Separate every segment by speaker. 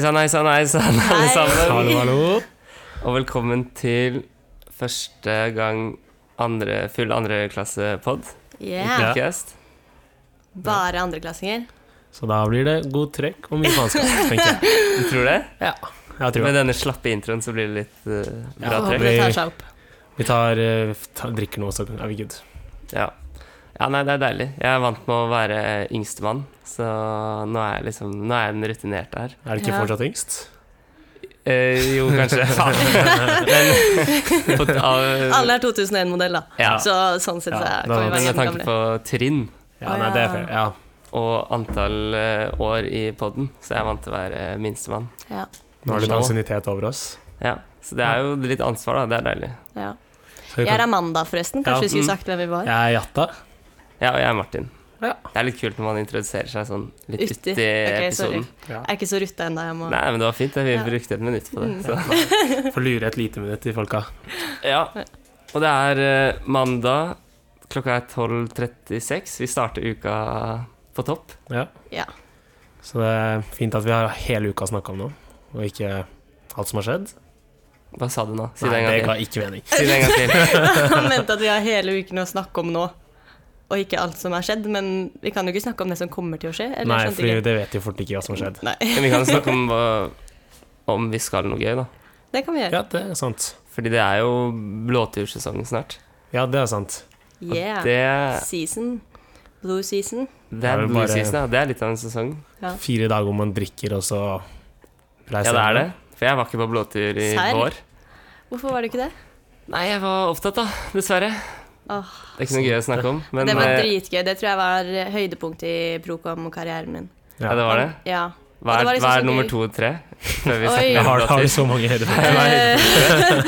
Speaker 1: sann, hei sann, hei sann, alle
Speaker 2: Hei.
Speaker 1: sammen.
Speaker 3: Hallo, hallo.
Speaker 1: Og velkommen til første gang andre, full andreklasse-pod.
Speaker 2: Yeah.
Speaker 3: Ja.
Speaker 1: Podcast.
Speaker 2: Bare andreklassinger.
Speaker 3: Så da blir det god trekk og mye faenskap, tenker jeg.
Speaker 1: Du tror det?
Speaker 3: Ja, jeg tror
Speaker 1: Med
Speaker 3: det.
Speaker 1: denne slappe introen så blir det litt eh, bra
Speaker 2: Jeg håper
Speaker 1: trekk.
Speaker 2: det tar seg opp.
Speaker 3: Vi tar, eh, ta, drikker noe, så er vi good.
Speaker 1: Ja. ja, nei, det er deilig. Jeg er vant med å være yngstemann, så nå er jeg liksom Nå er jeg den rutinerte her.
Speaker 3: Er det ikke
Speaker 2: Ja.
Speaker 3: fortsatt yngst?
Speaker 1: Eh, jo, kanskje. Faen. Men på, av,
Speaker 2: Alle er 2001-modell, da.
Speaker 1: ja,
Speaker 2: Så sånn sett så
Speaker 3: Ja,
Speaker 2: kan
Speaker 3: da-
Speaker 2: vi
Speaker 1: men
Speaker 2: være
Speaker 1: med tanke
Speaker 2: kjempegamle.
Speaker 1: på trinn
Speaker 3: Ja,
Speaker 2: Å,
Speaker 3: nei,
Speaker 2: ja.
Speaker 3: det er fair. Ja.
Speaker 1: og antall eh, år i poden, så jeg er vant til å være minstemann.
Speaker 2: Ja,
Speaker 3: Nå har
Speaker 1: Nå.
Speaker 3: du litt ansiennitet over oss.
Speaker 1: Ja, så det er jo litt ansvar, da. Det er deilig.
Speaker 2: ja.
Speaker 3: Så vi
Speaker 2: Jeg er
Speaker 3: kan-
Speaker 2: Amanda, forresten.
Speaker 3: Ja,
Speaker 2: Kanskje vi
Speaker 1: mm.
Speaker 2: skulle sagt hvem vi var?
Speaker 3: Jeg er Jatta.
Speaker 1: Ja, og jeg er Martin.
Speaker 3: Ja.
Speaker 1: Det er litt kult når man introduserer seg sånn litt
Speaker 2: Uti.
Speaker 1: uti
Speaker 2: Ok, sorry.
Speaker 1: episoden.
Speaker 3: Ja.
Speaker 2: Jeg er ikke så rutta ennå. Jeg må
Speaker 1: Nei, men det var fint. det. Vi
Speaker 2: Ja. Mm.
Speaker 1: brukte et minutt på det. Så.
Speaker 3: Får lure et lite minutt i folka.
Speaker 1: Ja. Og det er eh, mandag. Klokka er 12.36. Vi starter uka på topp.
Speaker 3: Ja.
Speaker 2: Ja.
Speaker 3: Så det er fint at vi har hele uka å snakke om nå, og ikke alt som har skjedd.
Speaker 1: Hva sa du nå? Si det
Speaker 3: Nei,
Speaker 1: en
Speaker 3: det
Speaker 1: gang til.
Speaker 3: ga ikke mening.
Speaker 1: Si det en gang til.
Speaker 2: Han mente at vi har hele uken å snakke om nå, og ikke alt som har skjedd. Men vi kan jo ikke snakke om det som kommer til å skje. Eller
Speaker 3: Nei,
Speaker 2: sånne
Speaker 3: for
Speaker 2: ting.
Speaker 3: det vet jo fort ikke hva som har skjedd.
Speaker 2: Nei,
Speaker 1: Men vi kan snakke om hva, om vi skal noe gøy, da.
Speaker 2: det kan vi gjøre.
Speaker 3: Ja, det er sant.
Speaker 1: Fordi det er jo blåtursesongen snart.
Speaker 3: Ja, det er sant.
Speaker 2: Yeah.
Speaker 1: Det,
Speaker 2: Season. Blue season.
Speaker 1: det
Speaker 3: er
Speaker 1: er
Speaker 3: vel
Speaker 1: blue
Speaker 3: bare-
Speaker 1: season, ja. Det er litt av en sesong.
Speaker 2: Ja.
Speaker 3: Fire dager hvor man drikker, og så
Speaker 1: Ja, det er det. For jeg var ikke på blåtur i
Speaker 2: Serr?
Speaker 1: vår.
Speaker 2: Hvorfor var det ikke det?
Speaker 1: Nei, jeg var opptatt, da. Dessverre.
Speaker 2: Åh,
Speaker 1: Det er ikke noe gøy å snakke om. Men
Speaker 2: det var
Speaker 1: eh,
Speaker 2: dritgøy. Det tror jeg var høydepunktet i Procom og karrieren min.
Speaker 1: ja, det var det.
Speaker 2: Ja.
Speaker 1: Hva
Speaker 2: Og det
Speaker 1: er,
Speaker 2: var liksom
Speaker 1: hva
Speaker 2: så
Speaker 1: er nummer
Speaker 2: gøy.
Speaker 1: to og tre? Før vi
Speaker 2: Oi.
Speaker 1: snakker
Speaker 3: Jeg
Speaker 1: om
Speaker 3: har, liksom- har du
Speaker 1: blåtur.
Speaker 3: så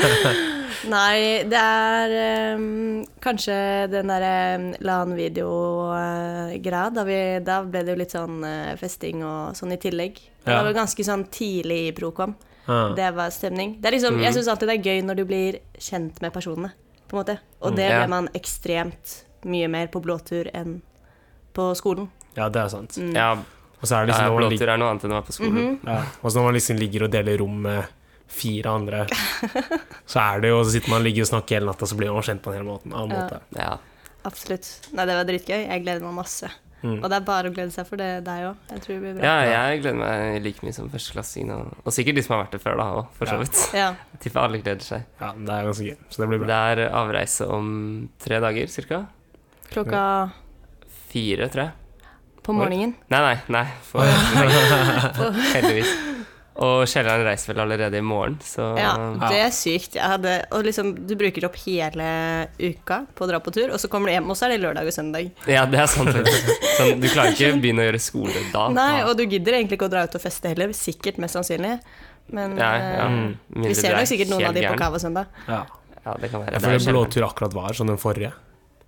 Speaker 3: mange høyder?
Speaker 2: Eh, Nei, det er ehm, kanskje den derre LAN-video-greia. Da, vi- da ble det jo litt sånn eh, festing og sånn i tillegg. Det
Speaker 3: Ja.
Speaker 2: var jo ganske sånn tidlig i Procom.
Speaker 3: Ah.
Speaker 2: Det var stemning. Det er liksom, Jeg syns alltid det er gøy når du blir kjent med personene, på en måte. Og det
Speaker 1: ja.
Speaker 2: ble man ekstremt mye mer på blåtur enn på skolen.
Speaker 3: Ja, det er sant.
Speaker 2: Mm.
Speaker 1: Ja,
Speaker 3: Og så er det
Speaker 1: ja,
Speaker 3: liksom når man, ligger,
Speaker 1: blåtur er noe annet enn å være på skolen.
Speaker 2: Mhm.
Speaker 3: ja. og så når man liksom ligger og deler rom med fire andre, så er det jo Så sitter man og ligger og snakker hele natta, så blir man kjent på en hel måte. Annen måte.
Speaker 1: Ja.
Speaker 2: Absolutt. Nei, det var dritgøy. Jeg gleder meg masse.
Speaker 1: Mm.
Speaker 2: Og det er bare å glede seg for det, deg òg. Jeg tror det blir bra.
Speaker 1: ja, jeg gleder meg like mye som førsteklassingene. Og, og sikkert de som har vært det før, da òg, for så
Speaker 3: Ja.
Speaker 1: vidt.
Speaker 2: Ja.
Speaker 1: Jeg Tipper alle gleder seg.
Speaker 3: Ja, det er ganske gøy. Så det blir bra.
Speaker 1: Det er avreise om tre dager, cirka.
Speaker 2: Klokka
Speaker 1: Fire, tror jeg.
Speaker 2: på morgenen.
Speaker 1: Nei, nei, nei. For, heldigvis. Og Kielland reiser vel allerede i morgen, så
Speaker 2: Ja, det er sykt. Jeg hadde, og liksom, du bruker opp hele uka på å dra på tur, og så kommer du hjem, og så er det lørdag og søndag.
Speaker 1: Ja, det er sant. faktisk. Sånn, du klarer ikke å begynne å gjøre skole da.
Speaker 2: Nei, og du gidder egentlig ikke å dra ut og feste heller. Sikkert, mest sannsynlig. Men
Speaker 1: Nei, ja. Mm.
Speaker 2: eh,
Speaker 1: Mindre
Speaker 2: vi ser
Speaker 1: du er
Speaker 2: nok sikkert noen
Speaker 1: helt
Speaker 2: av de på
Speaker 1: gæren.
Speaker 2: Cava søndag.
Speaker 3: Ja.
Speaker 1: Ja, det kan være.
Speaker 3: Jeg
Speaker 1: Det er,
Speaker 3: føler
Speaker 1: Kielland.
Speaker 3: blåtur akkurat var som den forrige.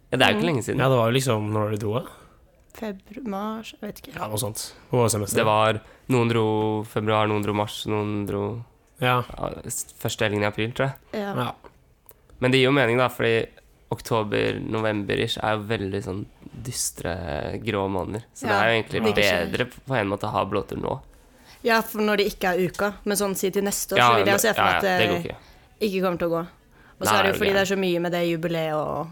Speaker 1: ja, det er jo ikke lenge siden.
Speaker 3: Ja, det var jo liksom når dere dro, ja.
Speaker 2: Februar, mars, jeg vet ikke.
Speaker 3: ja noe sånt. På
Speaker 1: Det
Speaker 3: semesteret.
Speaker 1: var Noen dro februar, noen dro mars, noen dro
Speaker 3: Ja.
Speaker 1: ja, s- første helgen i april, tror jeg.
Speaker 2: Ja.
Speaker 3: ja.
Speaker 1: Men det gir jo mening, da, fordi oktober-november-ish er jo veldig sånn dystre, grå måneder. Så det
Speaker 2: Ja,
Speaker 1: er jo egentlig
Speaker 2: det skjer.
Speaker 1: bedre på en måte å ha blåtur nå.
Speaker 2: ja, for når det ikke er uka, men sånn si til neste år,
Speaker 1: Ja,
Speaker 2: så vil jeg jo se for
Speaker 1: ja,
Speaker 2: meg
Speaker 1: ja, det går
Speaker 2: at det
Speaker 1: ikke.
Speaker 2: ikke kommer til å gå. Og så
Speaker 1: Nei,
Speaker 2: er det
Speaker 1: det
Speaker 2: jo
Speaker 1: er
Speaker 2: fordi
Speaker 1: gøy.
Speaker 2: det er så mye med det jubileet og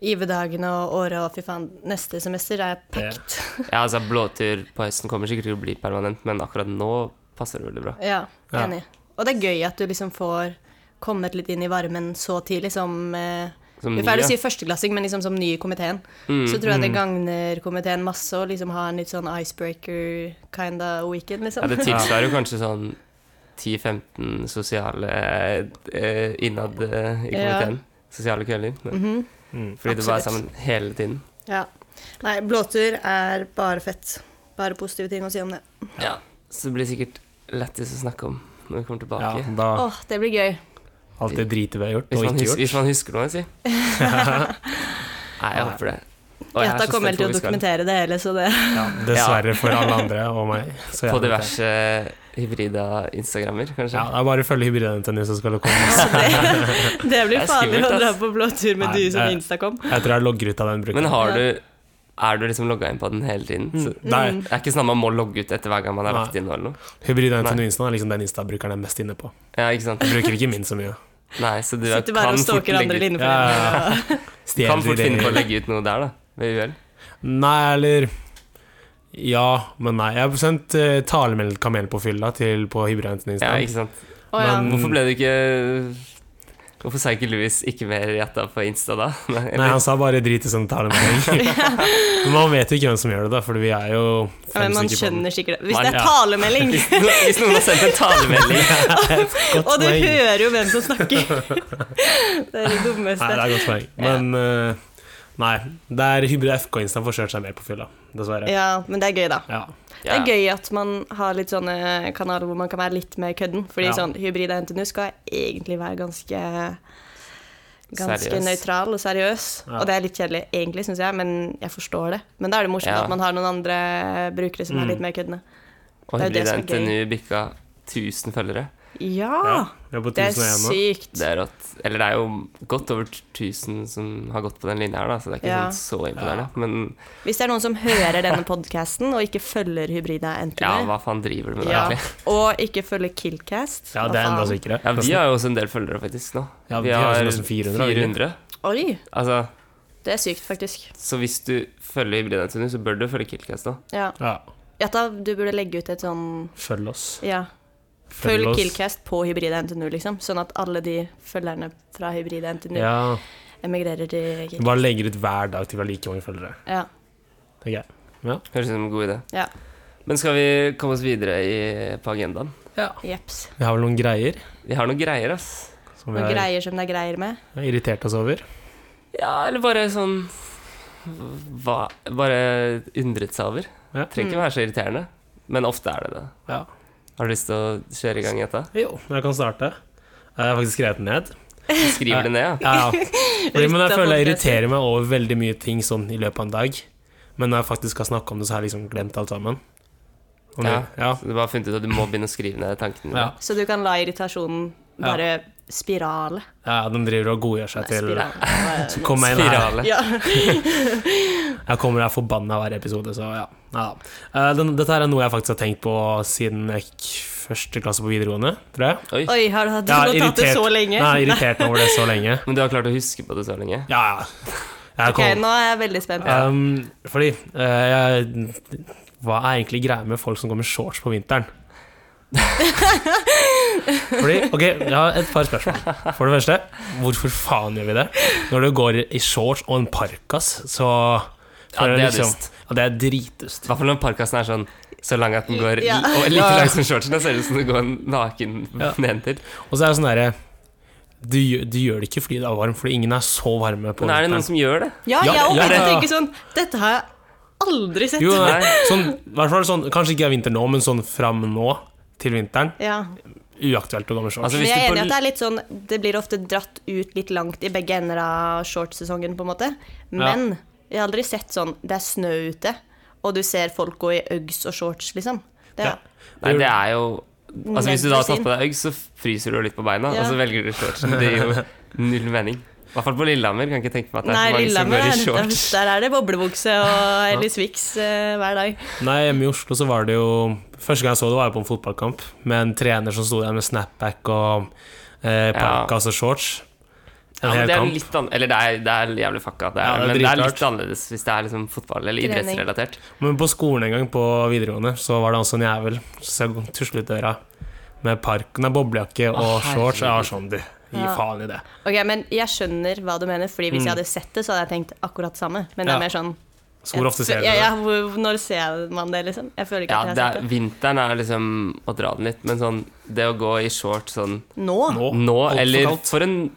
Speaker 2: IV-dagene og året og fy faen, neste semester er packed.
Speaker 1: Ja, altså Blåtur på høsten kommer sikkert til å bli permanent, men akkurat nå passer det veldig bra.
Speaker 2: Ja,
Speaker 3: Ja.
Speaker 2: enig. Og det er gøy at du liksom får kommet litt inn i varmen så tidlig som eh,
Speaker 1: Som
Speaker 2: Vi
Speaker 1: ny,
Speaker 2: er ferdig å
Speaker 1: ja.
Speaker 2: si førsteklassing, men liksom som ny i komiteen.
Speaker 1: Mm.
Speaker 2: så tror jeg det gagner komiteen masse å liksom ha en litt sånn icebreaker kinda weekend, liksom.
Speaker 1: Ja, det tilsvarer jo kanskje sånn 10-15 sosiale eh, innad eh, i
Speaker 2: Ja. Mm.
Speaker 1: komiteen. Sosiale kvelder.
Speaker 3: Mm.
Speaker 1: Fordi du bare er
Speaker 2: Absolutt.
Speaker 1: sammen hele tiden.
Speaker 2: Mhm. Ja. Nei, blåtur er bare fett. Bare positive ting å si om det.
Speaker 1: Ja, Så det blir sikkert lættis å snakke om når vi kommer
Speaker 3: ja
Speaker 1: tilbake.
Speaker 3: da
Speaker 2: Åh, det blir gøy.
Speaker 3: Alt det dritet vi har gjort
Speaker 1: Hvis
Speaker 3: og
Speaker 1: man,
Speaker 3: ikke
Speaker 1: husker,
Speaker 3: gjort.
Speaker 1: hvis man husker noe, si. Nei, jeg håper det. Og jeg er
Speaker 2: Jatta
Speaker 1: så
Speaker 2: kommer
Speaker 1: spent
Speaker 2: vel til
Speaker 1: hvor
Speaker 2: å
Speaker 1: vi skal.
Speaker 2: dokumentere det hele, så det
Speaker 3: Ja, dessverre for alle andre og meg. Så jeg
Speaker 1: På
Speaker 3: vet det.
Speaker 1: diverse hybrida Instagrammer, kanskje.
Speaker 3: Ja, det er bare å følge hybriden til så skal det komme.
Speaker 2: Det blir
Speaker 1: Det er
Speaker 2: farlig
Speaker 1: skummelt,
Speaker 2: å dra
Speaker 1: ass.
Speaker 2: på blåtur med
Speaker 3: Nei,
Speaker 2: du som
Speaker 3: det-
Speaker 2: Instacom.
Speaker 3: Jeg tror jeg logger ut av den
Speaker 1: Men
Speaker 3: bruken.
Speaker 1: har du er du liksom logga inn på den hele tiden. Så
Speaker 3: Mm. Nei,
Speaker 1: det er ikke sånn at man må logge ut etter hver gang man har lagt inn noe eller noe.
Speaker 3: Hybrida Antoninsen er liksom den Insta-brukeren jeg er mest inne på.
Speaker 1: Ja, ikke sant?
Speaker 3: Jeg bruker ikke min så mye.
Speaker 1: Nei, så du
Speaker 2: Sitter bare og
Speaker 1: kan fort,
Speaker 2: stalker andre
Speaker 1: legge,
Speaker 2: linjeforeninger. og-
Speaker 1: ut-
Speaker 3: Stjeler
Speaker 1: kan fort finne på å
Speaker 3: ideer.
Speaker 1: legge ut noe der, da. Ved uhell.
Speaker 3: Nei, eller Ja, men nei. Jeg har sendt uh, talemelding kamel på fylla til på Hybrida
Speaker 1: Ja,
Speaker 3: Antoninsen.
Speaker 1: ikke sant.
Speaker 2: Å ja.
Speaker 3: Men-
Speaker 1: Hvorfor ble det ikke Hvorfor sa ikke Louis ikke mer jatta på Insta da? Nei, eller-
Speaker 3: Nei, han sa bare drit i sånne talemeldinger. Men man vet jo ikke hvem som gjør det, da, for vi er jo
Speaker 2: Ja, men
Speaker 3: fem
Speaker 2: man
Speaker 3: stykker på den.
Speaker 2: skjønner sikkert Hvis
Speaker 1: Man-
Speaker 2: det er
Speaker 3: ja.
Speaker 2: talemelding,
Speaker 1: Hvis noen- Hvis noen har sendt en talemelding
Speaker 2: og du
Speaker 3: poeng.
Speaker 2: hører jo hvem som snakker Det er det
Speaker 3: Nei, det
Speaker 2: dummeste.
Speaker 3: er et godt poeng. Men eh, nei, det er Hybrid FK-insta får kjørt seg mer på fylla, dessverre.
Speaker 2: Ja, men det er gøy, da.
Speaker 3: Ja.
Speaker 2: Det er gøy at man har litt sånne kanaler hvor man kan være litt mer kødden. Fordi
Speaker 3: Ja.
Speaker 2: sånn hybrid og NTNU skal egentlig være ganske Ganske
Speaker 1: Seriøs.
Speaker 2: nøytral og seriøs.
Speaker 3: Ja.
Speaker 2: Og det er litt kjedelig, egentlig, syns jeg, men jeg forstår det. Men da er det morsomt
Speaker 1: Ja.
Speaker 2: at man har noen andre brukere som
Speaker 3: Mm.
Speaker 2: er litt mer køddende.
Speaker 1: Og
Speaker 2: Det er det
Speaker 1: Hybrida
Speaker 2: som er gøy.
Speaker 1: NTNU bikka 1000 følgere.
Speaker 2: Ja!
Speaker 3: ja. Vi er på
Speaker 2: Ah, Det er
Speaker 3: 1001 nå.
Speaker 2: sykt.
Speaker 1: Det er rått. Eller det er jo godt over 1000 som har gått på den linja her, da, så det er ikke
Speaker 2: Ja.
Speaker 1: sånn så imponerende. Men
Speaker 2: Hvis det er noen som hører denne podkasten og ikke følger hybrida NTNU,
Speaker 1: ja, hva faen driver du med
Speaker 2: Ja,
Speaker 1: der? egentlig?
Speaker 2: og ikke følge Killcast.
Speaker 3: Ja,
Speaker 2: Hva
Speaker 3: det er enda
Speaker 2: faen?
Speaker 3: sikrere.
Speaker 1: Ja, vi har jo også en del følgere, faktisk, nå.
Speaker 3: Ja, vi har jo nesten 400, har vi ikke?
Speaker 1: 400.
Speaker 2: Oi,
Speaker 1: Altså,
Speaker 2: det er sykt, faktisk.
Speaker 1: så hvis du følger Hybrida NTNU, så bør du følge Kiltcast nå.
Speaker 2: Ja.
Speaker 3: ja.
Speaker 2: Jatta, du burde legge ut et sånn
Speaker 3: Følg oss.
Speaker 2: Ja. Følg
Speaker 3: oss.
Speaker 2: Killcast på hybrida NTNU, liksom. Sånn at alle de følgerne fra hybrida NTNU
Speaker 3: Ja.
Speaker 2: emigrerer til
Speaker 3: Vi
Speaker 2: Killcast.
Speaker 3: bare legger ut hver dag til vi har like mange følgere.
Speaker 2: Ja.
Speaker 3: Det er gøy.
Speaker 1: Høres ut som en god idé.
Speaker 2: Ja.
Speaker 1: Men skal vi komme oss videre i, på agendaen?
Speaker 2: Jeps.
Speaker 3: Vi har vel noen greier
Speaker 1: Vi har noen greier, ass.
Speaker 3: som vi
Speaker 2: Noen
Speaker 3: har
Speaker 2: greier som det er greier med.
Speaker 3: har irritert oss over.
Speaker 1: Ja, eller bare sånn hva, Bare undret seg over.
Speaker 3: Ja.
Speaker 1: Trenger ikke være så irriterende, men ofte er det det.
Speaker 3: Ja.
Speaker 1: Har du lyst til å kjøre i gang gjetta?
Speaker 3: Jo, jeg kan starte. Jeg har faktisk skrevet den ned.
Speaker 1: Skriver det ned, ja.
Speaker 3: Ja, ja. Fordi, men
Speaker 2: Litt
Speaker 3: jeg
Speaker 2: av
Speaker 3: føler jeg
Speaker 2: podcasten.
Speaker 3: irriterer meg over veldig mye ting sånn i løpet av en dag. Men når jeg faktisk skal snakke om det, så har jeg liksom glemt alt sammen. Og nå-
Speaker 1: Ja.
Speaker 3: ja.
Speaker 1: Så du bare har funnet ut at du må begynne å skrive ned tankene dine.
Speaker 3: Ja.
Speaker 2: Så du kan la irritasjonen bare spirale.
Speaker 3: ja, de driver og godgjør seg til
Speaker 2: Spirale.
Speaker 3: Så kom jeg inn her.
Speaker 1: Spirale.
Speaker 2: Ja.
Speaker 3: Jeg kommer her forbanna hver episode, så ja. ja. Eh, den, dette her er noe jeg faktisk har tenkt på siden jeg gikk første klasse på videregående, tror jeg.
Speaker 1: Oi.
Speaker 2: Oi, har du hatt
Speaker 3: Jeg har
Speaker 2: notatet så
Speaker 3: irritert-
Speaker 2: lenge?
Speaker 3: Nei, jeg har irritert meg over det så lenge.
Speaker 1: Men du har klart å huske på det så lenge?
Speaker 3: Ja, ja. Jeg
Speaker 2: Ok,
Speaker 3: kom-
Speaker 2: nå er jeg veldig spent.
Speaker 3: Um, fordi eh, jeg, Hva er egentlig greia med folk som går med shorts på vinteren? fordi, ok, Jeg har et par spørsmål. For det første, hvorfor faen gjør vi det? Når du går i shorts og en parkas, så
Speaker 1: Ja, det er
Speaker 3: liksom-
Speaker 1: dust.
Speaker 3: Ja, det er dritdust.
Speaker 1: I hvert fall når parkasen er sånn så lang at den går
Speaker 2: Ja.
Speaker 1: og like
Speaker 3: Ja.
Speaker 1: lang som shortsen. Da ser det ut som du går naken
Speaker 3: Ja.
Speaker 1: nedentil.
Speaker 3: Og så er det sånn derre du, gjør- du gjør det ikke fordi det er varmt, fordi ingen er så varme på
Speaker 1: Men er det noen
Speaker 3: vinteren.
Speaker 1: som gjør det?
Speaker 2: Ja,
Speaker 3: Ja,
Speaker 2: jeg
Speaker 3: ja,
Speaker 2: òg.
Speaker 3: ja,
Speaker 2: Jeg
Speaker 3: ja.
Speaker 2: tenker sånn Dette har jeg aldri sett.
Speaker 3: Jo,
Speaker 1: Nei.
Speaker 3: sånn, i hvert fall sånn, Kanskje ikke er vinter nå, men sånn fram nå til vinteren.
Speaker 2: Ja.
Speaker 3: Uaktuelt å gå med shorts.
Speaker 1: Altså,
Speaker 2: Men
Speaker 1: hvis
Speaker 2: jeg er
Speaker 1: du på-
Speaker 2: enig i at det er litt sånn Det blir ofte dratt ut litt langt i begge ender av shortsesongen, på en måte. Men jeg har aldri sett sånn Det er snø ute, og du ser folk gå i Uggs og shorts, liksom. Det,
Speaker 3: Ja.
Speaker 1: Nei, det er jo Altså Hvis du da har tatt
Speaker 2: Nedfrysing.
Speaker 1: på deg Uggs, så fryser du jo litt på beina,
Speaker 2: Ja.
Speaker 1: og så velger du shortsen. Det gir jo null mening. I hvert fall på Lillehammer. Kan ikke tenke meg at det er så
Speaker 2: Nei,
Speaker 1: mange
Speaker 2: Lillehammer
Speaker 1: som
Speaker 2: er
Speaker 1: går i
Speaker 2: der,
Speaker 1: shorts.
Speaker 2: der er det boblebukse og Ellis Swix eh, hver dag.
Speaker 3: Nei, hjemme i Oslo så var det jo Første gang jeg så det, var jo på en fotballkamp med en trener som sto der med snapback og eh, parkas og shorts. En
Speaker 1: Ja, men
Speaker 3: hel
Speaker 1: det er
Speaker 3: kamp.
Speaker 1: litt an Eller det er, det er jævlig fucka, det er,
Speaker 3: Ja, det er
Speaker 1: men det er
Speaker 3: dritklart.
Speaker 1: litt annerledes hvis det er liksom fotball eller
Speaker 2: Trening.
Speaker 1: idrettsrelatert.
Speaker 3: Men på skolen en gang, på videregående, så var det også en jævel som tuslet ut døra med park, nei, boblejakke og
Speaker 1: herregud.
Speaker 3: shorts. Jeg var sånn, du. Gi
Speaker 2: Ja.
Speaker 3: faen i det.
Speaker 2: Ok, Men jeg skjønner hva du mener, Fordi hvis jeg
Speaker 1: Mm.
Speaker 2: hadde sett det, så hadde jeg tenkt akkurat det samme. Men det
Speaker 3: Ja.
Speaker 2: er mer sånn
Speaker 3: Så hvor ofte ser du
Speaker 2: ja,
Speaker 3: det?
Speaker 2: ja, hvor, Når ser man det, liksom? Jeg føler ikke
Speaker 1: Ja,
Speaker 2: at jeg
Speaker 1: det
Speaker 2: har
Speaker 1: er,
Speaker 2: sett det.
Speaker 1: vinteren er liksom å dra den litt, men sånn det å gå i shorts sånn
Speaker 2: Nå?
Speaker 3: Nå?
Speaker 1: nå,
Speaker 3: alt for
Speaker 1: eller
Speaker 3: kaldt.
Speaker 1: for en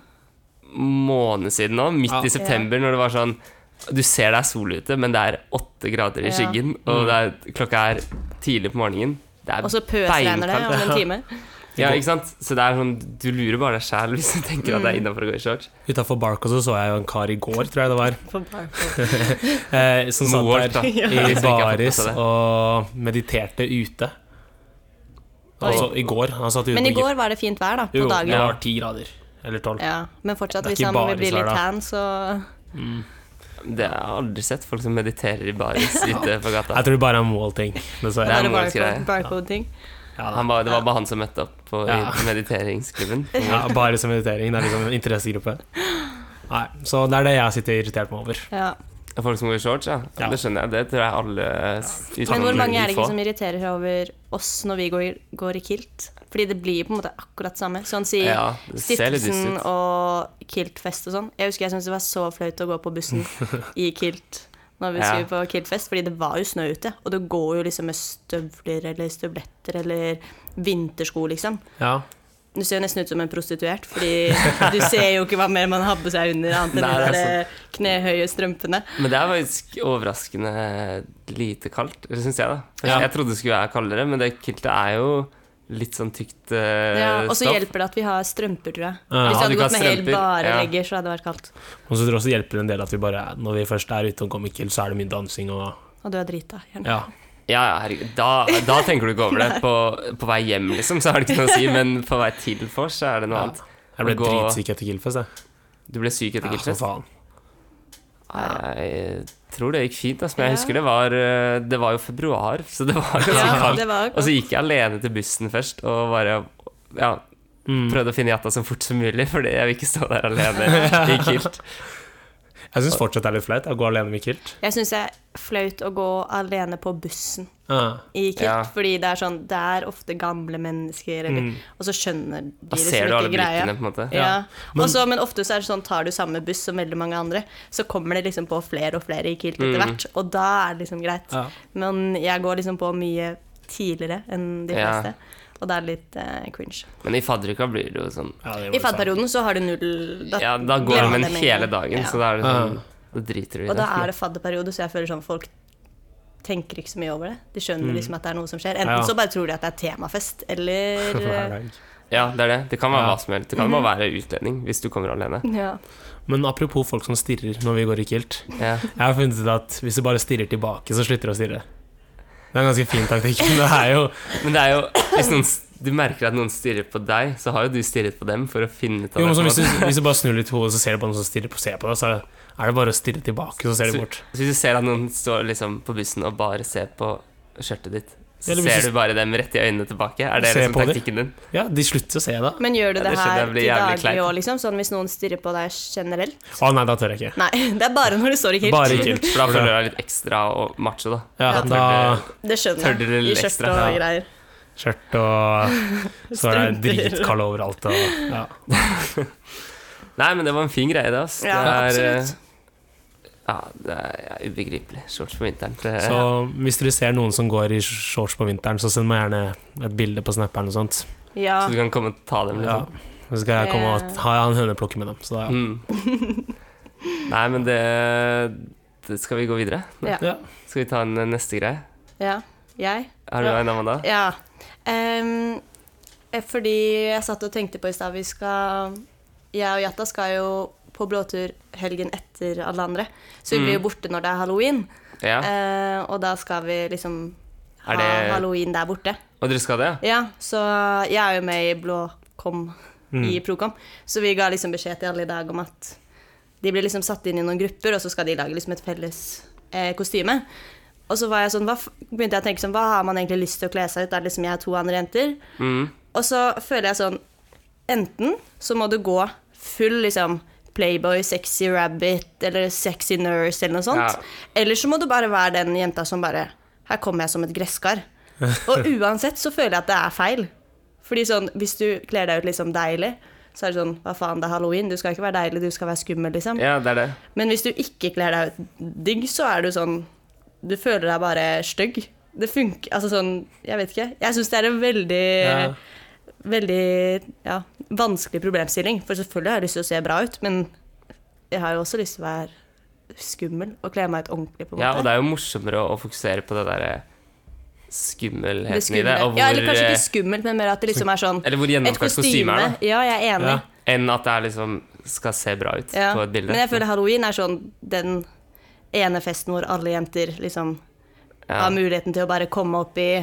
Speaker 1: måned siden nå, midt
Speaker 3: Ja.
Speaker 1: i september, når det var sånn Du ser det er sol ute, men det er åtte grader i
Speaker 2: Ja.
Speaker 1: skyggen,
Speaker 3: Mm.
Speaker 1: og det er, klokka er tidlig på morgenen. Det er
Speaker 2: Og så pøsregner det om en time.
Speaker 1: Ja, ikke sant? Så det er sånn, du lurer bare deg sjæl hvis du tenker at det er
Speaker 2: Mm.
Speaker 1: innafor å gå i shorts.
Speaker 3: Utafor Barcos så, så jeg jo en kar i går, tror jeg det var,
Speaker 2: For Barcode.
Speaker 3: eh, som
Speaker 1: Moholt,
Speaker 3: satt
Speaker 1: da,
Speaker 3: der
Speaker 1: hvis vi
Speaker 3: i
Speaker 1: ikke har fått med
Speaker 3: baris
Speaker 1: seg det.
Speaker 3: og mediterte ute.
Speaker 2: Oi.
Speaker 3: Altså i går. Han satt ute
Speaker 2: Men i
Speaker 3: og gikk-
Speaker 2: går var det fint vær, da. På
Speaker 3: Jo,
Speaker 2: dagen.
Speaker 3: det var ti grader. Eller tolv.
Speaker 2: Ja, men fortsatt, liksom hvis
Speaker 3: Det er ikke
Speaker 2: han vil
Speaker 3: bare
Speaker 2: bli
Speaker 3: isvær,
Speaker 2: litt
Speaker 3: da.
Speaker 2: tan, så
Speaker 1: Det har jeg aldri sett. Folk som mediterer i baris ute på gata.
Speaker 3: Jeg tror det bare er målting,
Speaker 1: Det
Speaker 3: dessverre.
Speaker 1: er
Speaker 2: Bare
Speaker 1: en greie.
Speaker 2: barcode- barcode-ting.
Speaker 3: Ja, da.
Speaker 1: Han var, det var bare han som møtte opp på i
Speaker 3: Ja.
Speaker 1: mediteringsklubben.
Speaker 3: ja, bare som meditering. Det er liksom en interessegruppe. Nei, så det er det jeg sitter irritert meg over.
Speaker 2: Ja.
Speaker 1: Og Folk som går i shorts, ja.
Speaker 3: Ja.
Speaker 1: Det skjønner jeg. Det tror jeg alle s- uten
Speaker 2: Men hvor mange er det
Speaker 1: få.
Speaker 2: ikke som irriterer seg over oss når vi går, går i kilt? Fordi det blir på en måte akkurat samme. Sånn sier
Speaker 1: Ja, det ser litt
Speaker 2: Stiftelsen
Speaker 1: dust ut.
Speaker 2: og kiltfest og sånn. Jeg husker jeg syntes det var så flaut å gå på bussen i kilt når vi
Speaker 1: Ja.
Speaker 2: skulle på kiltfest, fordi det var jo snø ute. Og du går jo liksom med støvler eller støvletter eller vintersko, liksom.
Speaker 3: Ja.
Speaker 2: Du ser jo nesten ut som en prostituert, fordi du ser jo ikke hva mer man har på seg under, annet enn
Speaker 1: Nei, det er
Speaker 2: de der eh, knehøye strømpene.
Speaker 1: Men det er faktisk overraskende lite kaldt, det syns jeg, da. For
Speaker 3: Ja.
Speaker 1: Jeg trodde det skulle være kaldere, men det kiltet er jo litt sånn tykt eh,
Speaker 2: Ja, og så
Speaker 1: stoff.
Speaker 2: hjelper det at vi har strømper, tror jeg.
Speaker 3: Ja,
Speaker 1: ja,
Speaker 2: Hvis vi hadde
Speaker 1: du kan
Speaker 2: gått med helt
Speaker 1: strømper,
Speaker 2: bare
Speaker 1: ja.
Speaker 2: legger, så hadde det vært kaldt.
Speaker 3: Og så tror jeg også det hjelper en del at vi bare når vi først er ute og kommer kill, så er det mye dansing og
Speaker 2: Og du er drita. Gjerne.
Speaker 3: Ja.
Speaker 1: Ja, ja, herregud. Da, da tenker du ikke over det. På, på vei hjem, liksom, så har det ikke noe å si, men på vei til vors, så er det noe
Speaker 3: Ja.
Speaker 1: annet.
Speaker 3: Jeg ble
Speaker 1: Gå-
Speaker 3: dritsyk etter Killfest, jeg.
Speaker 1: Du ble syk etter
Speaker 3: Ja, for
Speaker 1: kiltfest?
Speaker 3: faen.
Speaker 1: Nei, Jeg tror det gikk fint, altså, men jeg
Speaker 2: Ja.
Speaker 1: husker det var eh, Det var jo februar, så det var ganske
Speaker 2: Ja,
Speaker 1: kaldt. Altså,
Speaker 2: det var
Speaker 1: Og så gikk jeg alene til bussen først og bare ja,
Speaker 3: Mm.
Speaker 1: prøvde å finne jatta så fort som mulig, Fordi jeg vil ikke stå der alene i kilt.
Speaker 3: Jeg syns fortsatt det er litt flaut å gå alene med kilt.
Speaker 2: Jeg syns det er flaut å gå alene på bussen
Speaker 3: Ja.
Speaker 2: i kilt,
Speaker 1: Ja. Mm.
Speaker 2: fordi det er sånn Det er ofte gamle mennesker, eller Og så skjønner de
Speaker 1: Da
Speaker 2: liksom
Speaker 1: ser du
Speaker 2: ikke
Speaker 1: alle
Speaker 2: greia.
Speaker 1: blikene, på en måte.
Speaker 2: Ja. Men, Også, men ofte så er det sånn, tar du samme buss som veldig mange andre, så kommer det liksom på flere og flere i kilt
Speaker 1: Mm.
Speaker 2: etter hvert, og da er det liksom greit.
Speaker 3: Ja.
Speaker 2: Men jeg går liksom på mye tidligere enn de
Speaker 1: Ja.
Speaker 2: fleste, og det er litt eh, cringe.
Speaker 1: Men i fadderuka blir det jo sånn
Speaker 3: Ja,
Speaker 2: I
Speaker 3: det var litt sant.
Speaker 2: fadderperioden så har du null
Speaker 1: Ja, da går
Speaker 2: glemmer
Speaker 1: man
Speaker 2: det med en
Speaker 1: hele
Speaker 2: gang.
Speaker 1: dagen,
Speaker 2: Ja.
Speaker 1: så da er det sånn
Speaker 3: Ja.
Speaker 1: Da driter du i det.
Speaker 2: Og da er det fadderperiode, så jeg føler sånn folk tenker ikke så mye over det. De skjønner liksom at det er noe som skjer. Enten
Speaker 3: Mm. Ja.
Speaker 2: så bare tror de at det er temafest, eller
Speaker 3: Hver dag.
Speaker 1: Ja, det er det. Det kan være
Speaker 3: Ja.
Speaker 1: hva som helst. Det kan bare
Speaker 2: Mhm.
Speaker 1: være utlending hvis du kommer alene.
Speaker 2: eh, ja.
Speaker 3: Men apropos folk som stirrer når vi går i kilt.
Speaker 1: Ja.
Speaker 3: Jeg har funnet ut at hvis du bare stirrer tilbake, så slutter du å stirre. Det er en ganske fin taktikk. men Det er jo
Speaker 1: Men det er jo Hvis noen, du merker at noen stirrer på deg, så har jo du stirret på dem for å finne ut av
Speaker 3: jo,
Speaker 1: det.
Speaker 3: men
Speaker 1: på en
Speaker 3: så hvis,
Speaker 1: måte.
Speaker 3: du, hvis du bare snur litt hodet, så ser du på noen som stirrer på, ser på deg, så er det bare å stirre tilbake, så ser du bort.
Speaker 1: Så hvis du ser at noen står liksom på bussen og bare ser på skjørtet ditt, så
Speaker 3: Eller hvis
Speaker 1: ser
Speaker 3: du-
Speaker 1: du bare dem rett i øynene tilbake? Er det
Speaker 3: Se
Speaker 1: liksom
Speaker 3: på dem.
Speaker 1: taktikken din?
Speaker 3: Ja, de slutter å se deg.
Speaker 2: Men gjør du
Speaker 1: Ja,
Speaker 2: det,
Speaker 1: det skjønner jeg
Speaker 2: her
Speaker 1: blir
Speaker 2: til
Speaker 1: jævlig
Speaker 2: daglig
Speaker 1: kleint.
Speaker 2: òg, liksom? Sånn hvis noen stirrer på deg generelt?
Speaker 3: Å nei, da tør jeg ikke.
Speaker 2: Nei, det er bare når du står i kilt.
Speaker 3: Bare i kilt.
Speaker 1: For da føler du deg litt ekstra og macho, da. Da
Speaker 3: Ja, da
Speaker 1: tør
Speaker 2: Det
Speaker 1: Tør
Speaker 2: skjønner
Speaker 1: dere
Speaker 2: jeg. I
Speaker 1: litt
Speaker 2: skjørt
Speaker 1: ekstra,
Speaker 2: og
Speaker 3: ja.
Speaker 2: greier.
Speaker 3: skjørt og Så er
Speaker 2: Strømper.
Speaker 3: det dritkald overalt og ja.
Speaker 1: du- Nei, men det var en fin greie, det. ass.
Speaker 2: Ja,
Speaker 1: det eh,
Speaker 2: absolutt.
Speaker 1: Ja, det er ja, ubegripelig. Shorts på vinteren. Det,
Speaker 3: Så hvis dere ser noen som går i shorts på vinteren, så send meg gjerne et bilde på Snap eller noe sånt.
Speaker 2: Ja.
Speaker 1: Så du kan komme og ta dem,
Speaker 3: Ja.
Speaker 1: liksom.
Speaker 3: Så skal jeg komme og
Speaker 2: Det-
Speaker 3: ha en høneplukke med dem. Så da,
Speaker 1: Mm. Nei, men det, det Skal vi gå videre?
Speaker 2: Ja.
Speaker 3: ja.
Speaker 1: Skal vi ta en eh, neste greie?
Speaker 2: ja. Jeg?
Speaker 1: Har du
Speaker 2: Ja.
Speaker 1: en Amanda?
Speaker 2: Ja. Ehm, eh, fordi jeg satt og tenkte på i stad Vi skal Jeg og Jatta skal jo på blåtur helgen etter alle andre. Så vi blir jo borte når det er halloween.
Speaker 1: Mm. Ja.
Speaker 2: Eh, og da skal vi liksom ha
Speaker 1: Er det-
Speaker 2: halloween der borte.
Speaker 1: Og dere skal det? ja?
Speaker 2: Ja, så jeg er jo med i Blåkom
Speaker 1: Mm.
Speaker 2: i Procom. Så vi ga liksom beskjed til alle i dag om at de ble liksom satt inn i noen grupper, og så skal de lage liksom et felles eh, kostyme. Og så var jeg sånn, hva, f- begynte jeg å tenke sånn, hva har man egentlig lyst til å kle seg ut? Det er liksom jeg og to andre jenter.
Speaker 1: Mm.
Speaker 2: Og så føler jeg sånn, enten så må du gå full liksom Playboy, sexy rabbit eller sexy nurse eller noe sånt.
Speaker 1: Ja.
Speaker 2: Eller så må du bare være den jenta som bare Her kommer jeg som et gresskar. Og uansett så føler jeg at det er feil. Fordi sånn, hvis du kler deg ut liksom deilig, så er det sånn Hva faen, det er halloween. Du skal ikke være deilig, du skal være skummel, liksom.
Speaker 1: Ja, det er det.
Speaker 2: Men hvis du ikke kler deg ut digg, så er du sånn Du føler deg bare stygg. Det funker Altså sånn Jeg vet ikke. Jeg syns det er en veldig
Speaker 3: Ja.
Speaker 2: Veldig ja, vanskelig problemstilling. For selvfølgelig har jeg lyst til å se bra ut, men jeg har jo også lyst til å være skummel og kle meg ut ordentlig, på en
Speaker 1: Ja, og
Speaker 2: måte.
Speaker 1: det er jo morsommere å fokusere på det derre
Speaker 2: Det
Speaker 1: skummelheten i det.
Speaker 2: skumle.
Speaker 1: Og hvor,
Speaker 2: ja, eller kanskje
Speaker 1: eh,
Speaker 2: ikke skummelt, men mer at det liksom er sånn
Speaker 1: eller hvor
Speaker 2: Et
Speaker 1: gjennomført kostyme
Speaker 2: kostyme.
Speaker 1: er, da.
Speaker 2: Ja, jeg er enig.
Speaker 3: Ja.
Speaker 1: Enn at det er liksom skal se bra ut
Speaker 2: Ja.
Speaker 1: på et bilde.
Speaker 2: Men jeg føler halloween er sånn den ene festen hvor alle jenter liksom
Speaker 1: ja.
Speaker 2: har muligheten til å bare komme opp i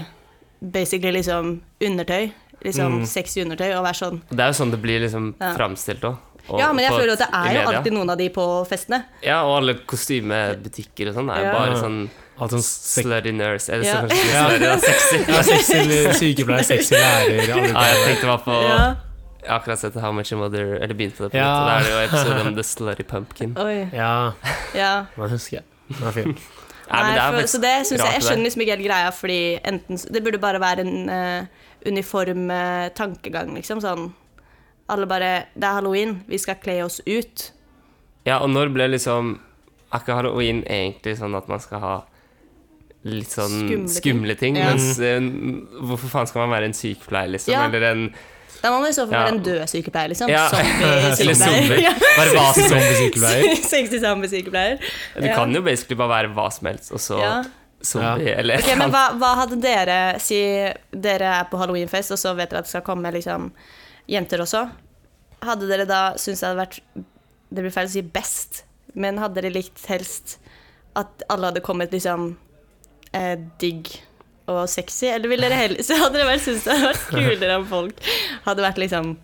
Speaker 2: basically
Speaker 1: Mm.
Speaker 2: liksom undertøy. Liksom sexy undertøy og være sånn
Speaker 1: Det er jo sånn det blir liksom
Speaker 2: Ja.
Speaker 1: framstilt òg. og-
Speaker 2: Ja, men jeg
Speaker 1: på-
Speaker 2: føler at det
Speaker 1: i
Speaker 2: er jo
Speaker 1: media.
Speaker 2: alltid noen av de på festene.
Speaker 1: Ja, og alle kostymebutikker og sånn er jo
Speaker 2: Ja.
Speaker 1: bare sånn
Speaker 3: Alt sånn sek-
Speaker 1: slutty nurse. Eller
Speaker 2: Ja.
Speaker 1: så kanskje ikke slutty, da. Sexy.
Speaker 3: ja, sexy l- sykepleier, sexy lærer alle
Speaker 1: Ja,
Speaker 3: de-
Speaker 1: jeg tenkte bare på
Speaker 2: Ja.
Speaker 1: Jeg har akkurat sett How Much Your Mother Eller begynt på det på nytt.
Speaker 3: Ja.
Speaker 1: og Da er det jo episode om The Slutty Pumpkin.
Speaker 2: Oi.
Speaker 3: Ja,
Speaker 2: Ja.
Speaker 3: den husker jeg. Den er fin.
Speaker 1: Nei, men det er
Speaker 2: Nei, for,
Speaker 1: faktisk
Speaker 2: så det
Speaker 1: rart
Speaker 2: synes jeg, jeg
Speaker 1: det der.
Speaker 2: skjønner liksom ikke helt greia, fordi enten Det burde bare være en eh, uniform eh, tankegang, liksom. Sånn alle bare Det er halloween, vi skal kle oss ut.
Speaker 1: Ja, og når ble liksom Er ikke halloween egentlig sånn at man skal ha litt sånn
Speaker 2: Skumle ting.
Speaker 1: skumle, ting?
Speaker 2: Ja.
Speaker 1: Mens eh, n- hvorfor faen skal man være en sykepleier, liksom?
Speaker 2: Ja.
Speaker 1: Eller en
Speaker 2: Da må man i så fall
Speaker 1: Ja.
Speaker 2: være en død sykepleier, liksom.
Speaker 1: Ja. Eller zombie.
Speaker 2: Ja.
Speaker 3: Verbase zombiesykepleier.
Speaker 2: Sexy zombiesykepleier.
Speaker 1: Du
Speaker 2: Ja.
Speaker 1: kan jo basically bare være hva som helst, og så
Speaker 2: Ja.
Speaker 1: zombie, eller
Speaker 2: Ok, men hva, hva hadde dere Si dere er på halloweenfest, og så vet dere at det skal komme liksom, jenter også. Hadde dere da syntes det hadde vært Det blir feil å si best, men hadde dere likt helst at alle hadde kommet liksom eh, digg og sexy, eller ville dere heller Så hadde dere vel syntes det hadde vært kulere om folk hadde vært liksom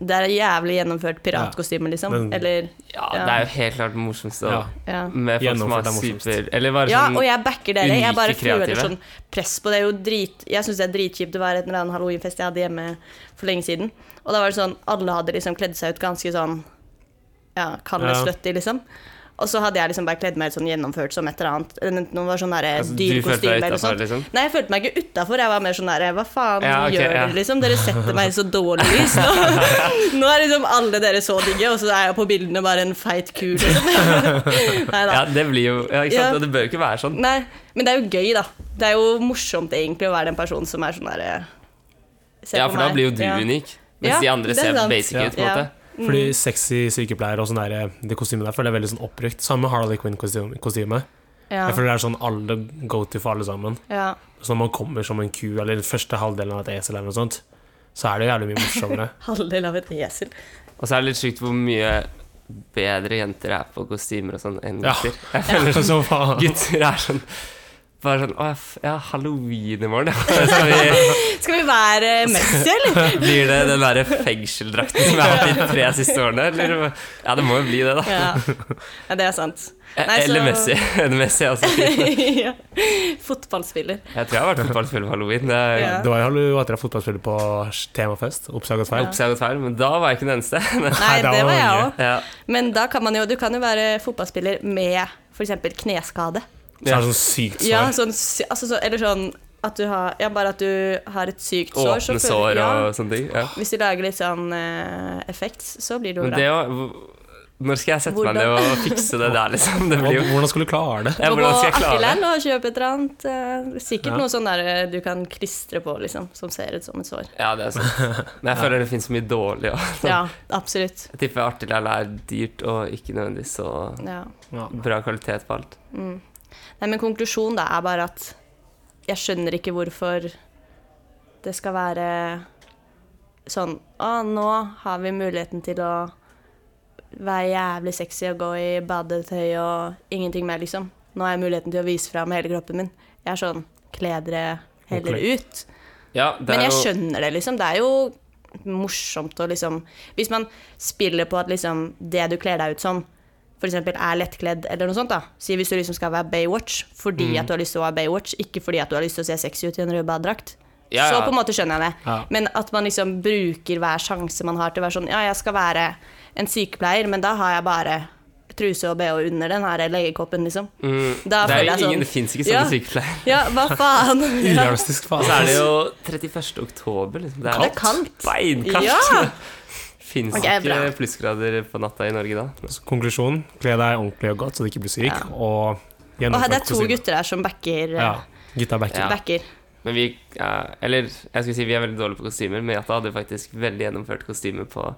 Speaker 2: Det er et jævlig gjennomført piratkostyme, liksom.
Speaker 3: Men-
Speaker 2: Eller
Speaker 1: Ja, det er jo helt klart det morsomste.
Speaker 3: Ja.
Speaker 1: å-
Speaker 2: ja.
Speaker 1: Med folk som
Speaker 3: Gjennomført
Speaker 1: har
Speaker 3: er morsomst.
Speaker 1: super Eller bare
Speaker 2: Ja,
Speaker 1: sånn
Speaker 2: og jeg backer dere.
Speaker 1: unike
Speaker 2: Jeg bare føler
Speaker 1: kreative.
Speaker 2: sånn press på det. det. Er jo drit, jeg syns det er dritkjipt å være et eller annet halloweenfest jeg hadde hjemme for lenge siden. Og da var det sånn alle hadde liksom kledd seg ut ganske sånn ja, kall det
Speaker 3: Ja.
Speaker 2: slutty, liksom. Og så hadde jeg liksom bare kledd meg ut sånn gjennomført som et eller annet. Enten Noe var sånn derre
Speaker 1: Altså, du
Speaker 2: dyr
Speaker 1: følte deg
Speaker 2: kostyme eller sånn. noe
Speaker 1: utenfor,
Speaker 2: sånt.
Speaker 1: liksom?
Speaker 2: Nei, jeg følte meg ikke utafor. Jeg var mer sånn derre Hva faen
Speaker 1: Ja, ok,
Speaker 2: gjør
Speaker 1: ja.
Speaker 2: dere, liksom? Dere setter meg i så dårlig lys. Nå, nå er liksom alle dere så digge, og så er jeg på bildene bare en feit ku, liksom. Nei da.
Speaker 1: Ja, det blir jo ja, ikke sant?
Speaker 2: Ja.
Speaker 1: Og det bør jo ikke være sånn.
Speaker 2: Nei, men det er jo gøy, da. Det er jo morsomt egentlig å være den personen som er sånn derre
Speaker 1: Ja, for da blir jo du unik. Mens
Speaker 2: Ja,
Speaker 1: de andre
Speaker 2: det er
Speaker 1: ser
Speaker 2: sant.
Speaker 1: basic ut, på en
Speaker 2: Ja.
Speaker 1: måte.
Speaker 3: Fordi sexy sykepleier og sånn der, det kostymet der føler jeg er veldig sånn opprykt. Samme Harley Quinn-kostyme.
Speaker 2: Ja.
Speaker 3: Jeg føler det er sånn alle go to for alle sammen.
Speaker 2: Ja.
Speaker 3: Så når man kommer som en ku, eller den første halvdelen av et esel eller noe sånt, så er det jo jævlig mye morsommere.
Speaker 2: Halvdel av et esel.
Speaker 1: Og så er det litt sjukt hvor mye bedre jenter er på kostymer og sånn enn
Speaker 3: Ja.
Speaker 1: gutter. Jeg
Speaker 3: Eller
Speaker 1: føler
Speaker 3: så faen.
Speaker 1: gutter er sånn bare sånn Å, ja, f- ja, halloween i morgen, ja. Så vi,
Speaker 2: Skal vi være eh, Messi, eller?
Speaker 1: blir det den derre fengseldrakten som jeg har hatt de tre siste årene, eller? Ja, det må jo bli det, da.
Speaker 2: Ja, ja det er sant. Nei, så-
Speaker 1: Eller Messi. Messi altså.
Speaker 2: ja. Fotballspiller.
Speaker 1: Jeg tror jeg har vært fotballspiller på halloween. Det er,
Speaker 2: Ja.
Speaker 3: Det var jo etter at fotballspiller på temafest, oppsaget feil.
Speaker 1: Oppsett og feil, men da var jeg ikke den eneste.
Speaker 2: Nei,
Speaker 3: da
Speaker 2: det
Speaker 3: var
Speaker 2: var jeg
Speaker 3: mange.
Speaker 2: òg.
Speaker 1: ja.
Speaker 2: Men da kan man jo, du kan jo være fotballspiller med f.eks. kneskade.
Speaker 3: Så er det sånn sykt svar.
Speaker 2: Ja, sånn, sy- altså, så, eller sånn at du har Ja, bare at du har et sykt sår. så
Speaker 1: Åpne
Speaker 2: føler-
Speaker 1: sår
Speaker 2: ja.
Speaker 1: og sånne ting. Ja.
Speaker 2: Hvis du lager litt sånn eh, effekt, så blir det jo
Speaker 1: Men
Speaker 2: bra.
Speaker 1: det å Når skal jeg sette meg ned og fikse det der, liksom? Det blir jo
Speaker 3: Hvordan hvordan skulle du klare det?
Speaker 1: ja,
Speaker 2: Gå på
Speaker 1: Hvordan skal jeg klare det?
Speaker 2: Akkerland og kjøpe et eller annet. eh, Sikkert
Speaker 3: Ja.
Speaker 2: noe sånn der eh, du kan klistre på, liksom, som ser ut som et sår.
Speaker 1: Ja, det er sant. Men jeg føler det finnes så mye dårlig òg.
Speaker 2: Ja, absolutt.
Speaker 1: Jeg tipper artiglærl er dyrt og ikke nødvendigvis så
Speaker 2: Ja.
Speaker 3: Ja.
Speaker 1: bra kvalitet på alt.
Speaker 2: Nei, men konklusjonen da er bare at jeg skjønner ikke hvorfor det skal være sånn Å, nå har vi muligheten til å være jævlig sexy og gå i badetøy og ingenting mer, liksom. Nå har jeg muligheten til å vise fram hele kroppen min. Jeg er sånn Kle dere heller
Speaker 3: Ok.
Speaker 2: ut.
Speaker 1: Ja, det
Speaker 2: Men
Speaker 1: er
Speaker 2: jeg
Speaker 1: jo
Speaker 2: skjønner det, liksom. Det er jo morsomt å liksom Hvis man spiller på at liksom det du kler deg ut som, f.eks. er lettkledd eller noe sånt, da. Si hvis du liksom skal være Baywatch fordi
Speaker 1: Mm.
Speaker 2: at du har lyst til å være Baywatch, ikke fordi at du har lyst til å se sexy ut i en rød badedrakt.
Speaker 1: Ja,
Speaker 2: Så
Speaker 1: ja.
Speaker 2: på en måte skjønner jeg det.
Speaker 3: Ja.
Speaker 2: Men at man liksom bruker hver sjanse man har til å være sånn Ja, jeg skal være en sykepleier, men da har jeg bare truse og bh under den her legekoppen, liksom.
Speaker 1: mm,
Speaker 2: Da
Speaker 1: Det er
Speaker 2: føler
Speaker 1: jo
Speaker 2: jeg sånn-
Speaker 1: ingen Det fins ikke
Speaker 2: Ja.
Speaker 1: sånne sykepleiere.
Speaker 2: Ja, hva faen? Ja.
Speaker 3: Urealistisk faen.
Speaker 1: Så er det jo 31. oktober, liksom. Det er,
Speaker 2: Det er kaldt. Ja.
Speaker 1: Beinkaldt. Fins
Speaker 2: Ok,
Speaker 1: ikke
Speaker 2: bra.
Speaker 1: plussgrader på natta i Norge da.
Speaker 3: Så Konklusjon, kle deg ordentlig og godt så du ikke blir syk,
Speaker 2: Ja.
Speaker 3: og
Speaker 2: Og her,
Speaker 3: gjennomfør
Speaker 2: det er to gutter her som backer.
Speaker 3: Ja,
Speaker 2: eh,
Speaker 3: gutta backer.
Speaker 1: Ja.
Speaker 2: backer.
Speaker 1: Men vi ja, Eller jeg skulle si vi er veldig dårlige på kostymer, men Jata hadde faktisk veldig gjennomført kostyme på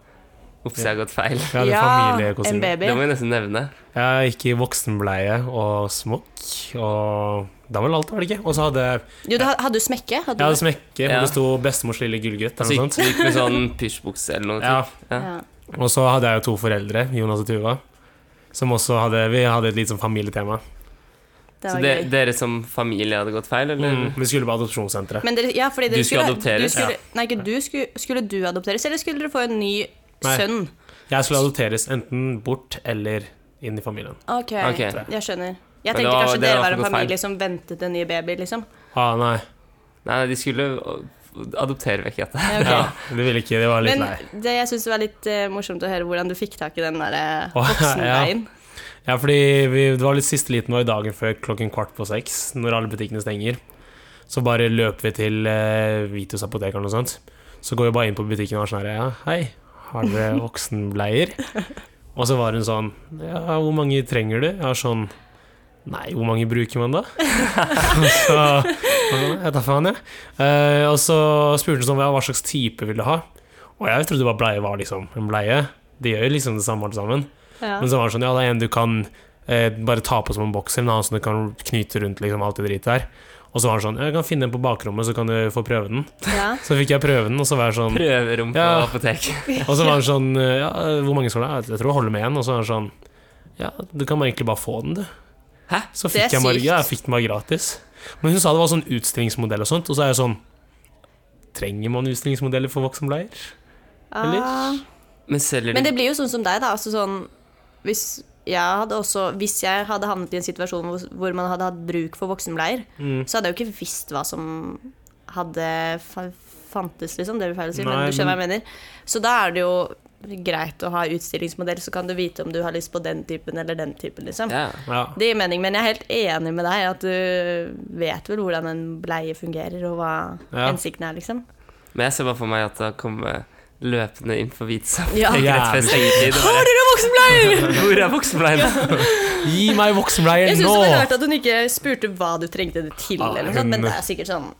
Speaker 1: Ops, jeg har gått feil.
Speaker 3: Ja, det er
Speaker 2: en
Speaker 3: familiekostyme.
Speaker 2: baby.
Speaker 1: Det må jeg nesten nevne.
Speaker 3: Jeg gikk i voksenbleie og smokk, og da var det alt, var det ikke? Og så hadde jeg
Speaker 2: Jo, du, ha- hadde du smekke? Hadde
Speaker 3: jeg hadde
Speaker 2: du?
Speaker 3: smekke, hvor
Speaker 1: Ja.
Speaker 3: det sto 'bestemors lille gullgutt'
Speaker 1: Og så
Speaker 3: eller noe
Speaker 1: gikk
Speaker 3: sånt.
Speaker 1: vi gikk med sånn pysjbukse eller noe.
Speaker 3: Ja,
Speaker 1: typ. ja.
Speaker 2: Ja.
Speaker 3: og så hadde jeg jo to foreldre, Jonas og Tuva, som også hadde Vi hadde et litt sånn familietema.
Speaker 2: Det
Speaker 1: Så
Speaker 2: var
Speaker 1: de,
Speaker 2: gøy.
Speaker 1: dere som familie hadde gått feil, eller?
Speaker 3: Mm. Vi skulle på adopsjonssenteret.
Speaker 2: Men dere, ja, fordi dere
Speaker 1: Du skulle
Speaker 2: skulle
Speaker 1: adopteres?
Speaker 2: Du skulle, nei, ikke du skulle, skulle du adopteres, eller skulle dere få en ny
Speaker 3: Nei.
Speaker 2: sønn?
Speaker 3: Jeg skulle adopteres enten bort eller inn i familien.
Speaker 2: Ok,
Speaker 1: Ok.
Speaker 2: jeg skjønner.
Speaker 1: Men det
Speaker 2: Jeg tenkte
Speaker 1: var- det er
Speaker 2: kanskje dere var en
Speaker 1: iallfall noe
Speaker 2: familie som ventet en ny baby, liksom.
Speaker 3: Ah, nei.
Speaker 1: Nei, nei, de skulle øh, adoptere vekk dette.
Speaker 2: Ja, ok.
Speaker 3: Ja, det ville ikke. Det var litt
Speaker 2: Men
Speaker 3: lei.
Speaker 2: det jeg syns var litt eh, morsomt å høre hvordan du fikk tak i den der eh,
Speaker 3: Å, ja.
Speaker 2: voksenveien.
Speaker 3: Ja, fordi vi, det var litt siste liten var i dagen før klokken kvart på seks, når alle butikkene stenger. Så bare løper vi til eh, Vitus apotek eller noe sånt. Så går vi bare inn på butikken og er sånn her ja, Hei, har dere voksenbleier? Og så var hun sånn Ja, hvor mange trenger du? Jeg var sånn Nei, hvor mange bruker man da? og så og så, Jeg tar faen, jeg. Eh, og så spurte hun sånn ja, Hva slags type vil du ha? Og jeg trodde bare bleie var liksom en bleie. De gjør jo liksom det samme alle sammen.
Speaker 2: Ja.
Speaker 3: Men så var det sånn, ja, det er en du kan eh, bare ta på som en bokser, men en annen som du kan knyte rundt liksom alt det dritet her. Og så var det sånn, jeg kan finne en på bakrommet, så kan du få prøve den.
Speaker 2: Ja.
Speaker 3: Så fikk jeg prøve den, og så var jeg sånn,
Speaker 1: Prøverom på
Speaker 3: Ja.
Speaker 1: apoteket.
Speaker 3: og så var det sånn, eh, ja, hvor mange skal du ha? Jeg tror jeg holder med en, og så var det sånn, ja, du kan bare egentlig bare få den, du.
Speaker 1: Hæ?
Speaker 3: Så
Speaker 2: Det er
Speaker 3: fikk jeg, bare,
Speaker 2: sykt.
Speaker 3: ja, jeg fikk den bare gratis. Men hun sa det var sånn utstillingsmodell og sånt, og så er jeg sånn, trenger man utstillingsmodeller for voksenbleier? Eller?
Speaker 2: Ah.
Speaker 1: Men selger
Speaker 2: Men
Speaker 1: de
Speaker 2: det blir jo sånn som deg, da. Altså sånn hvis jeg hadde også Hvis jeg hadde havnet i en situasjon hvor, hvor man hadde hatt bruk for voksenbleier,
Speaker 3: Mm.
Speaker 2: så hadde jeg jo ikke visst hva som hadde fa fantes, liksom. Det blir feil å si,
Speaker 3: Nei,
Speaker 2: men du skjønner hva jeg mener. Så da er det jo greit å ha utstillingsmodell, så kan du vite om du har lyst på den typen eller den typen, liksom.
Speaker 1: ja.
Speaker 3: Ja.
Speaker 2: Det gir mening, men jeg er helt enig med deg at du vet vel hvordan en bleie fungerer, og hva
Speaker 3: Ja.
Speaker 2: hensikten er, liksom.
Speaker 1: Men jeg ser bare for meg at det kommer løpende inn på Hvits
Speaker 2: Ja.
Speaker 1: apotek rett før stengetid. og
Speaker 2: Har dere voksenbleier?!
Speaker 1: bare, Hvor er voksenbleien?
Speaker 3: Gi meg voksenbleier
Speaker 2: Jeg
Speaker 3: nå!
Speaker 2: synes det var rart at hun ikke spurte hva du trengte det til,
Speaker 3: Ah,
Speaker 2: eller noe sånt, men
Speaker 3: hun-
Speaker 2: det er sikkert sånn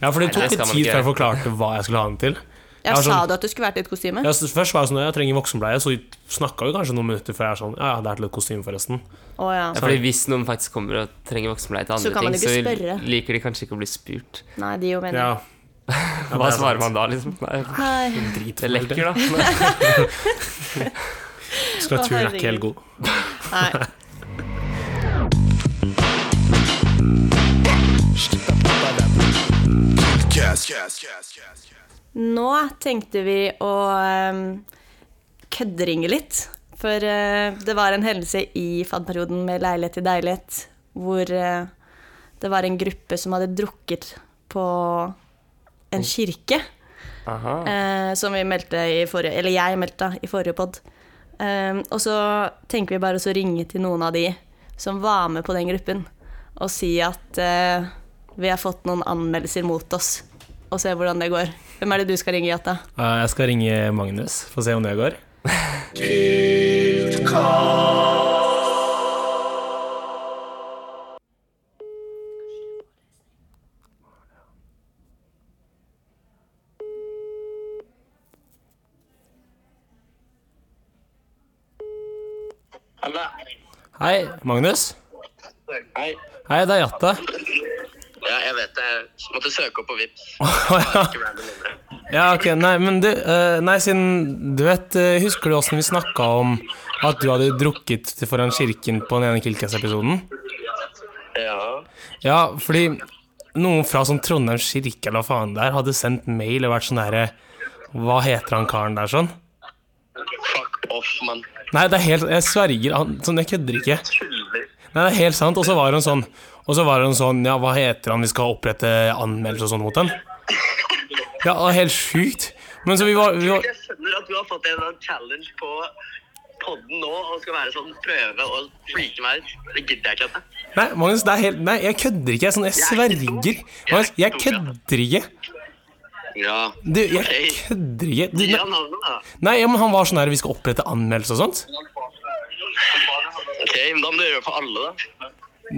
Speaker 3: Ja, for det
Speaker 1: Nei,
Speaker 3: tok
Speaker 1: det
Speaker 3: litt
Speaker 1: skal man
Speaker 3: tid
Speaker 1: ikke
Speaker 3: før jeg
Speaker 1: gjøre.
Speaker 3: forklarte hva jeg skulle ha den til.
Speaker 2: Ja,
Speaker 3: Ja, sånn-
Speaker 2: sa du at du skulle vært i et kostyme?
Speaker 3: Ja, så først var jeg sånn, jeg trenger voksenbleie, så snakka vi kanskje noen minutter før jeg er sånn, ja, ja, det er til et kostyme forresten.
Speaker 2: Å ja.
Speaker 1: Ja, fordi hvis noen faktisk kommer og trenger voksenbleie til
Speaker 2: Så
Speaker 1: andre
Speaker 2: kan man
Speaker 1: ting,
Speaker 2: jo
Speaker 1: så
Speaker 2: ikke spørre.
Speaker 1: liker de kanskje ikke å bli spurt.
Speaker 2: Nei, de jo mener
Speaker 3: Ja.
Speaker 1: Hva svarer man da, liksom? Nei,
Speaker 2: Nei.
Speaker 1: det er lekker, da.
Speaker 3: Skraturen er ikke helt god.
Speaker 2: Nei.
Speaker 4: Cast, cast, cast, cast, cast.
Speaker 2: Nå tenkte vi å ehm, kødderinge litt. For eh, det var en hendelse i fadperioden med Leilighet til deilighet hvor eh, det var en gruppe som hadde drukket på en kirke.
Speaker 1: Aha.
Speaker 2: Eh, som vi meldte i forrige Eller jeg meldte da, i forrige pod. Eh, og så tenker vi bare å ringe til noen av de som var med på den gruppen, og si at eh, vi har fått noen anmeldelser mot oss, og se hvordan det går. Hvem er det du skal ringe, Jata?
Speaker 3: Eh, Jeg skal ringe Magnus, få se om det går.
Speaker 5: Hallo.
Speaker 3: Hei, Magnus.
Speaker 5: Hei.
Speaker 3: Hei, det er Jatta.
Speaker 5: Ja, jeg vet det. Jeg måtte søke opp på Vipps. Jeg har ikke random numre.
Speaker 3: Ja, ok, nei, men du, eh, nei, siden du vet, eh, husker du åssen vi snakka om at du hadde drukket foran kirken på den ene Kilkas-episoden?
Speaker 5: Ja.
Speaker 3: Ja, fordi noen fra sånn Trondheim kirke eller hva faen der hadde sendt mail og vært sånn derre Hva heter han karen der sånn?
Speaker 5: Fuck off, mann.
Speaker 3: Nei, det er helt Jeg sverger, han, sånn, jeg kødder ikke.
Speaker 5: Tuller.
Speaker 3: Nei, det er helt sant. Og så var hun sånn Og så var hun sånn Ja, hva heter han? Vi skal opprette anmeldelse og sånn mot den. Ja, det er helt sjukt. Men så vi var, vi var
Speaker 5: Jeg skjønner at du har fått en eller annen challenge på podden nå og skal være sånn prøve å freake meg ut. Det gidder jeg ikke. At.
Speaker 3: Nei, Magnus, det er helt Nei, jeg kødder ikke. Jeg, er sånn, jeg sverger. Magnus, jeg kødder ikke.
Speaker 5: Ja.
Speaker 3: Du, jeg kødder ikke. Du,
Speaker 5: Gi
Speaker 3: nei,
Speaker 5: han navnet, da.
Speaker 3: nei, ja, men han var sånn her Vi skal opprette anmeldelse og sånt.
Speaker 5: Ok, men da må du gjøre det for alle, da.